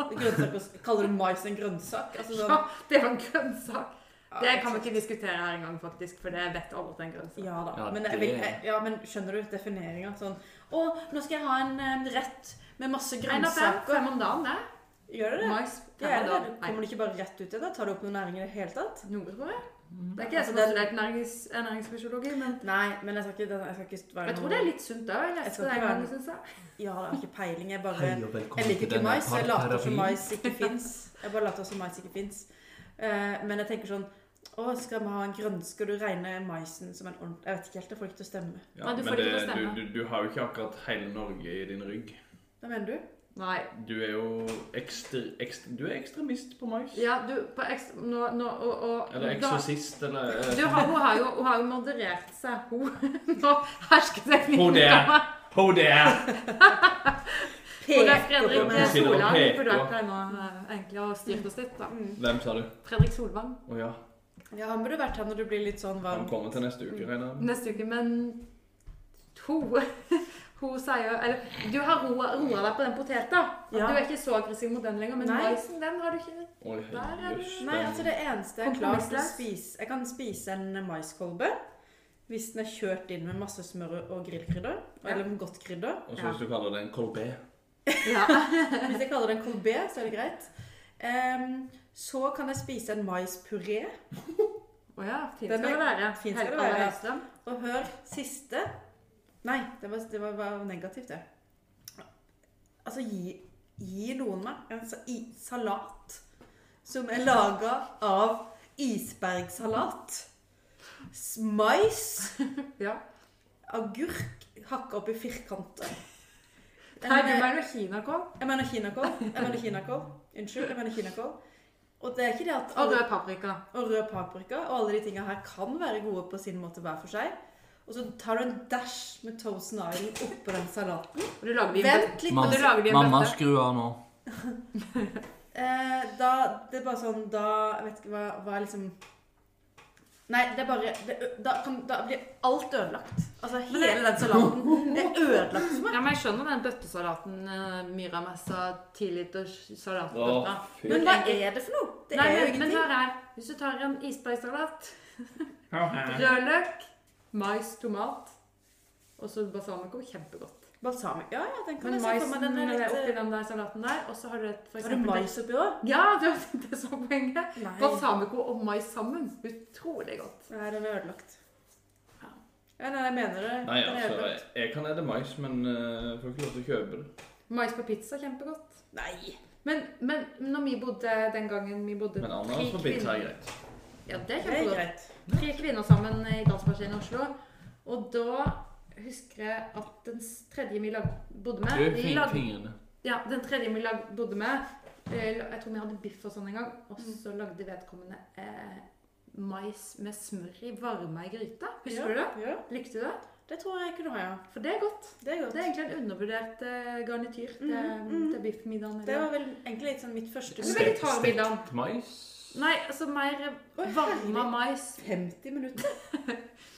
Speaker 3: Grønnsaker, kaller du mais en grønnsak? Altså sånn,
Speaker 2: (laughs) Ja, det var en grønnsak.
Speaker 3: Ja,
Speaker 2: Det kan vi ikke diskutere her engang, faktisk, for det vet alle at det er en grønnsak.
Speaker 3: Ja da.
Speaker 4: Ja,
Speaker 3: men, jeg
Speaker 4: det-
Speaker 3: vil, jeg, eh, ja, men skjønner du defineringa? Sånn Å, nå skal jeg ha en, en rett med masse
Speaker 2: En av fem,
Speaker 3: grønnsaker.
Speaker 2: fem om dagen, det.
Speaker 3: Gjør du det?
Speaker 2: Mais
Speaker 3: Ja,
Speaker 2: fem
Speaker 3: er
Speaker 2: om
Speaker 3: det det?
Speaker 2: dagen.
Speaker 3: Kommer
Speaker 2: Nei,
Speaker 3: du ikke bare rett ut i det? Tar du opp noe næring i det hele tatt?
Speaker 2: noe tror jeg.
Speaker 4: Mm.
Speaker 2: Det er ikke jeg
Speaker 3: Altså,
Speaker 2: som har
Speaker 3: det-
Speaker 2: studert nærings- ernæringsfysiologi, men
Speaker 3: Nei, men jeg skal ikke, den- jeg skal ikke være
Speaker 2: jeg tror det er litt sunt òg.
Speaker 3: Jeg
Speaker 2: Jeg leste
Speaker 3: skal
Speaker 2: det en
Speaker 3: ikke
Speaker 2: gang,
Speaker 3: være-
Speaker 2: synes jeg.
Speaker 3: Ja, det er ikke peiling. Jeg bare
Speaker 5: Hei og
Speaker 3: Jeg
Speaker 5: velkommen
Speaker 3: liker
Speaker 5: til
Speaker 3: ikke
Speaker 5: denne
Speaker 3: mais. Jeg later som
Speaker 5: parterapien.
Speaker 3: mais ikke fins. Jeg bare later som mais ikke fins. men jeg tenker sånn Å, skal vi ha en grønnske? Og du regner maisen som en ordentlig Jeg vet ikke helt, det får ikke til å stemme.
Speaker 4: Ja,
Speaker 2: Nei, du
Speaker 4: men
Speaker 2: får det ikke til å
Speaker 4: det-
Speaker 2: stemme.
Speaker 4: Du, du, du har jo ikke akkurat hele Norge i din rygg.
Speaker 3: Hva mener du?
Speaker 2: Nei.
Speaker 4: Du er jo ekstra, ekstra, du er ekstremist på mais.
Speaker 2: Ja, du på ekstra, nå, nå, og, og,
Speaker 4: Eller
Speaker 2: da-
Speaker 4: eksorsist, eller eh,
Speaker 2: Du, har- hun, har jo, hun har jo moderert seg. Hun (laughs) Nå hersker teknikken.
Speaker 4: Hun der. På det!
Speaker 2: Fredrik
Speaker 4: på meg.
Speaker 2: Fredrik eh.
Speaker 4: Hun sitter og
Speaker 2: Solvang
Speaker 4: peker.
Speaker 2: burde vært her nå eh, egentlig og styrt oss litt. da.
Speaker 4: Hvem sa du?
Speaker 2: Fredrik Solvang
Speaker 4: Å ja.
Speaker 3: Ja, han burde vært her når du blir litt sånn
Speaker 4: Han
Speaker 3: varm.
Speaker 4: kommer til neste uke, regner jeg med.
Speaker 2: neste uke, men hun, (laughs) hun sier Eller du har roa, roa deg på den poteta. At
Speaker 3: Ja.
Speaker 2: Du er ikke så aggressiv mot den lenger, men
Speaker 3: Nei.
Speaker 2: maisen, den har du ikke
Speaker 4: Oi,
Speaker 2: Der er du.
Speaker 4: jøss,
Speaker 3: Nei,
Speaker 4: den-
Speaker 3: altså det eneste jeg er klar til å
Speaker 2: Kompromissløs.
Speaker 3: spise Jeg kan spise en maiskolbe hvis den er kjørt inn med masse smør og grillkrydder. Eller med godt krydder.
Speaker 4: Og så hvis du kaller det en kolbé
Speaker 2: Ja.
Speaker 3: Hvis jeg kaller det en kolbe, så er det greit. Ehm, så kan jeg spise en maispuré.
Speaker 2: Å ja, fint
Speaker 3: Den er-
Speaker 2: skal det være.
Speaker 3: fint skal det
Speaker 2: Helga
Speaker 3: være.
Speaker 2: Høystrøm.
Speaker 3: Og hør siste Nei, det var, det var, var negativt, det. Altså, gi, gi noen meg en sa, i, salat som er laga av isbergsalat. s- Mais.
Speaker 2: Ja.
Speaker 3: Agurk hakka opp i firkanter.
Speaker 2: Nei, du
Speaker 3: En, eh,
Speaker 2: er jo kinakål.
Speaker 3: Jeg mener kinakål. Jeg mener kinakål. Unnskyld, jeg mener kinakål. Og det er ikke det at
Speaker 2: Og rød paprika.
Speaker 3: og rød paprika og alle de tinga her kan være gode på sin måte hver for seg. Og så tar du en dash med Toast Island oppå den salaten.
Speaker 2: Og du lager de i
Speaker 3: Vent litt.
Speaker 2: Mamma-
Speaker 3: og du-
Speaker 2: lager de en mamma, bøtte.
Speaker 4: skru av nå.
Speaker 3: Eh, da, det er bare sånn Da Jeg vet ikke hva, hva er liksom Nei, det er bare det, da, kan, da blir alt ødelagt. Altså hele den salaten. Det er ødelagt for meg.
Speaker 2: Ja, men jeg skjønner den bøttesalaten eh, Myra messa, tiliters
Speaker 4: Å,
Speaker 2: salatbøtta.
Speaker 4: fy.
Speaker 3: Men hva er det for noe? Det
Speaker 2: Nei,
Speaker 3: er jo
Speaker 2: men, men
Speaker 3: ingenting.
Speaker 2: hør her. Hvis du tar en isbergsalat, rødløk, mais, tomat og så balsamico, kjempegodt.
Speaker 3: Balsamic Ja, ja, den kan jeg
Speaker 2: Men
Speaker 3: se for
Speaker 2: maisen
Speaker 3: meg. Den er litt
Speaker 2: oppi
Speaker 3: eh,
Speaker 2: den der salaten der, og så har du et for
Speaker 3: Har du
Speaker 2: eksempel
Speaker 3: mais oppi òg?
Speaker 2: Ja, (laughs) det var det som var poenget.
Speaker 3: Nei.
Speaker 2: Balsamico og mais sammen. Utrolig godt.
Speaker 3: Nei, den er ødelagt.
Speaker 2: Ja.
Speaker 3: Ja, nei, jeg mener det. Den
Speaker 4: Nei,
Speaker 3: er
Speaker 4: altså,
Speaker 3: ødelagt.
Speaker 4: jeg, jeg kan ete mais, men eh, får ikke lov til å kjøpe det.
Speaker 2: Mais på pizza, kjempegodt.
Speaker 3: Nei.
Speaker 2: Men, men når vi bodde den gangen vi bodde
Speaker 4: Men ananas på pizza er greit.
Speaker 2: Ja, det er
Speaker 3: Det er
Speaker 2: kjempegodt.
Speaker 3: greit.
Speaker 2: tre kvinner sammen i Dansmaskinen i Oslo. Og da husker jeg at den s- tredje vi lag, bodde med lag-
Speaker 4: fingrene.
Speaker 2: Ja, den tredje vi lag, bodde med eh, la- Jeg tror vi hadde biff og sånn en gang. Og
Speaker 3: Mm.
Speaker 2: så lagde vedkommende eh, mais med smør i varma i gryta. Husker du det?
Speaker 3: Ja,
Speaker 2: Likte du det?
Speaker 3: det tror jeg jeg kunne ha, ja.
Speaker 2: For det er godt.
Speaker 3: Det er
Speaker 2: Det
Speaker 3: godt.
Speaker 2: er egentlig en undervurdert eh, garnityr til,
Speaker 3: Mhm, mhm.
Speaker 2: til biffmiddagen.
Speaker 3: Det
Speaker 2: eller-
Speaker 3: var vel egentlig litt sånn mitt første
Speaker 2: Eller
Speaker 3: møte.
Speaker 2: vegetarmiddagen.
Speaker 4: Mais
Speaker 2: Nei, altså mer
Speaker 3: Oi,
Speaker 2: varma
Speaker 3: herlig.
Speaker 2: mais.
Speaker 3: 50 minutter.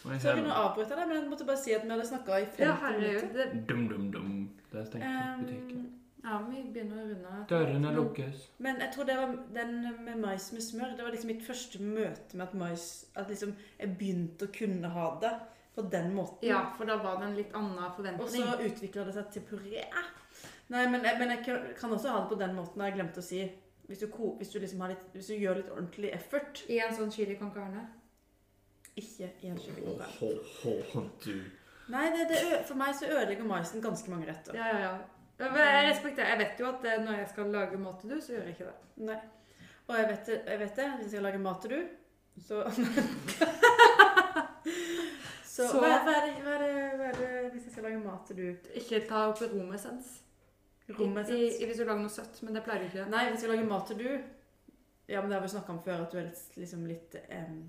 Speaker 4: Oi,
Speaker 3: Sorry, nå
Speaker 4: helvete.
Speaker 3: avbryter jeg deg, men jeg måtte bare si at vi hadde snakka i 50
Speaker 2: Ja, herregud.
Speaker 3: minutter.
Speaker 2: Det,
Speaker 4: Dum, dum, dum. Der stengte butikken.
Speaker 3: Um,
Speaker 2: ja, vi begynner å runde av.
Speaker 4: Dørene lukkes.
Speaker 3: men jeg tror det var den med mais med smør. Det var liksom mitt første møte med at mais At liksom jeg begynte å kunne ha det på den måten.
Speaker 2: Ja, for da var det en litt annen
Speaker 3: Og så
Speaker 2: forventning.
Speaker 3: utvikla det seg til puré. Nei, men jeg, men jeg kan- kan også ha det på den måten jeg glemte å si. Hvis du, ko, hvis, du liksom har litt, hvis du gjør litt ordentlig effort,
Speaker 2: I en sånn chili con carne.
Speaker 3: ikke i en kyllingkokk.
Speaker 4: Ho, ho, ho, du.
Speaker 3: Nei, det, det, ø- for meg så ødelegger maisen ganske mange retter.
Speaker 2: Ja, ja, ja. Ja, men Jeg respekterer. Jeg vet jo at eh, når jeg skal lage mat til du, så gjør jeg ikke det.
Speaker 3: Nei. Og jeg vet, det- jeg vet det, hvis jeg lager mat til du, så (laughs) Så,
Speaker 2: Så-
Speaker 3: Hva, er, hva, er det, hva, er det, hva er det hvis jeg skal lage mat til du?
Speaker 2: Ikke ta opp romessens.
Speaker 3: Rommet
Speaker 2: I, i, hvis du lager noe søtt, men det pleier du ikke.
Speaker 3: Nei, hvis jeg lager mat til du Ja, men det har vi snakka om før, at du er litt, liksom litt em,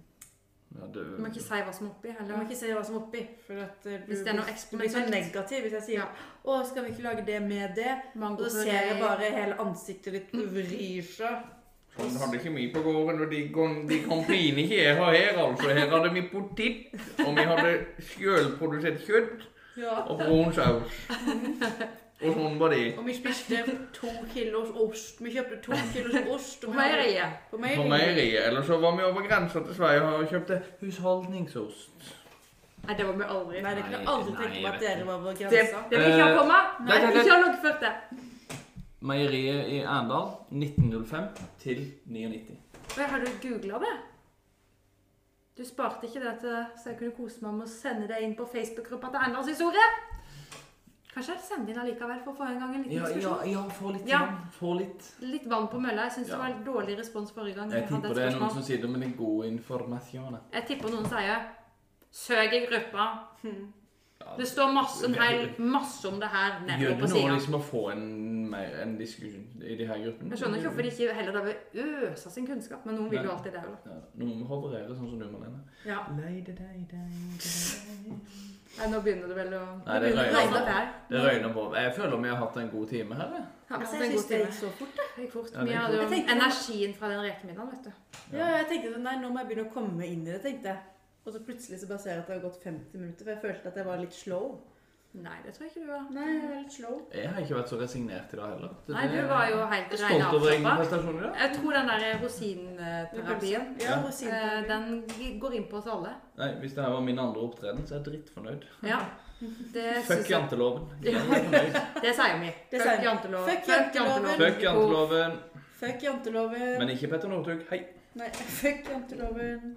Speaker 4: Ja, du.
Speaker 2: Du må ikke si hva som er oppi
Speaker 3: Jeg må
Speaker 2: heller.
Speaker 3: ikke si hva som er oppi. For at eh, du,
Speaker 2: Hvis det er noe liksom
Speaker 3: du blir så
Speaker 2: eksperimentelt.
Speaker 3: negativ hvis jeg sier
Speaker 2: Ja.
Speaker 3: 'Å, skal vi ikke lage det med det?' Og
Speaker 2: Mango
Speaker 3: så ser jeg bare hele ansiktet ditt vrir seg.
Speaker 4: Han Sånn, hadde ikke mye på gården, og de, kon- de kantine ikke jeg har her, altså. Her hadde vi potet, og vi hadde sjølprodusert kjøtt
Speaker 3: Ja.
Speaker 4: og brun saus. Og sånn var det.
Speaker 3: Og vi spiste to kilos ost. Vi kjøpte
Speaker 2: (laughs)
Speaker 3: to kilos ost.
Speaker 2: På
Speaker 3: vi hadde-
Speaker 2: meieriet.
Speaker 3: På
Speaker 4: På
Speaker 3: meieriet.
Speaker 4: meieriet. Eller så var vi over grensa til Sverige og kjøpte husholdningsost.
Speaker 2: Nei, det var vi aldri.
Speaker 3: Nei, det kunne jeg aldri
Speaker 4: Nei,
Speaker 3: tenke
Speaker 4: jeg
Speaker 3: meg at
Speaker 4: vet
Speaker 3: dere var vår
Speaker 2: Det,
Speaker 3: grense.
Speaker 2: det vil ikke ha på meg.
Speaker 4: Eh, Nei, nei, nei.
Speaker 2: Ikke ha loggført det.
Speaker 4: Meieriet i Arendal 1905 til 99.
Speaker 2: Men har du googla det? Du sparte ikke det til så jeg kunne kose meg med å sende det inn på Facebook-gruppa til Enders historie? Kanskje jeg sender inn allikevel for å få en gang en liten
Speaker 4: Ja, ja,
Speaker 2: diskusjon?
Speaker 4: ja, få litt.
Speaker 2: Ja.
Speaker 4: igjen. Få litt.
Speaker 2: Litt vann på mølla. Jeg syns
Speaker 4: Ja.
Speaker 2: det var dårlig respons forrige gang.
Speaker 4: Jeg
Speaker 2: hadde
Speaker 4: tipper
Speaker 2: et
Speaker 4: det er
Speaker 2: spørsmål.
Speaker 4: noen som sitter med den gode informasjonen.
Speaker 2: Jeg tipper noen sier Søk i gruppa.
Speaker 4: Ja,
Speaker 2: Det står masse, en hel, masse om det her
Speaker 4: Gjør
Speaker 2: nedover
Speaker 4: det noe
Speaker 2: på sida.
Speaker 4: liksom å få en, mer, en diskusjon i de her gruppene?
Speaker 2: Jeg skjønner ikke hvorfor de ikke heller da vil øse av sin kunnskap, men noen vil jo alltid det. da.
Speaker 4: Ja, Noen må hoverere sånn som du, Malene.
Speaker 2: Ja.
Speaker 4: Leide deg, deg,
Speaker 2: Nei, nå begynner det vel å
Speaker 4: Nei, det
Speaker 2: Nå
Speaker 4: røyner
Speaker 2: begynner
Speaker 4: på.
Speaker 2: det der.
Speaker 4: Det røyner på. Jeg føler vi har hatt en god time her. jeg.
Speaker 2: Ja, men
Speaker 3: Altså,
Speaker 2: det er en
Speaker 3: jeg
Speaker 2: god
Speaker 3: synes det
Speaker 2: time.
Speaker 3: gikk så fort.
Speaker 2: Det gikk fort.
Speaker 4: Ja, det
Speaker 2: Vi
Speaker 4: gikk
Speaker 3: fort.
Speaker 2: hadde jo
Speaker 3: Jeg tenkte-
Speaker 2: energien fra den rekemiddagen, vet du.
Speaker 3: Ja, jeg tenkte sånn, nei, nå må jeg begynne å komme inn i det, tenkte jeg. Og så plutselig så bare ser jeg at det har gått 50 minutter, for jeg følte at jeg var litt slow.
Speaker 2: Nei, det tror jeg ikke du var.
Speaker 3: Nei, jeg var litt slow.
Speaker 4: Jeg har ikke vært så resignert i dag heller. Så
Speaker 2: Nei,
Speaker 4: det-
Speaker 2: du var jo helt
Speaker 4: Jeg er
Speaker 2: rein
Speaker 4: stolt over egen
Speaker 2: avslappa.
Speaker 4: prestasjon i dag.
Speaker 2: Jeg tror den der rosinterapien
Speaker 3: Ja,
Speaker 4: Ja.
Speaker 2: eh,
Speaker 3: rosinterapien.
Speaker 2: den går inn på oss alle.
Speaker 4: Nei, Hvis det her var min andre opptreden, så er jeg drittfornøyd.
Speaker 2: Ja. Det
Speaker 4: Fuck
Speaker 2: syns jeg.
Speaker 4: janteloven.
Speaker 2: Ja.
Speaker 4: Jeg er
Speaker 2: (laughs)
Speaker 4: fornøyd.
Speaker 2: Det sier vi.
Speaker 3: Det sier
Speaker 2: Fuck
Speaker 3: vi.
Speaker 2: janteloven.
Speaker 3: Fuck janteloven.
Speaker 4: Fuck janteloven.
Speaker 3: Fuck janteloven.
Speaker 4: Men ikke Petter Northug. Hei.
Speaker 3: Nei, (laughs) fuck janteloven.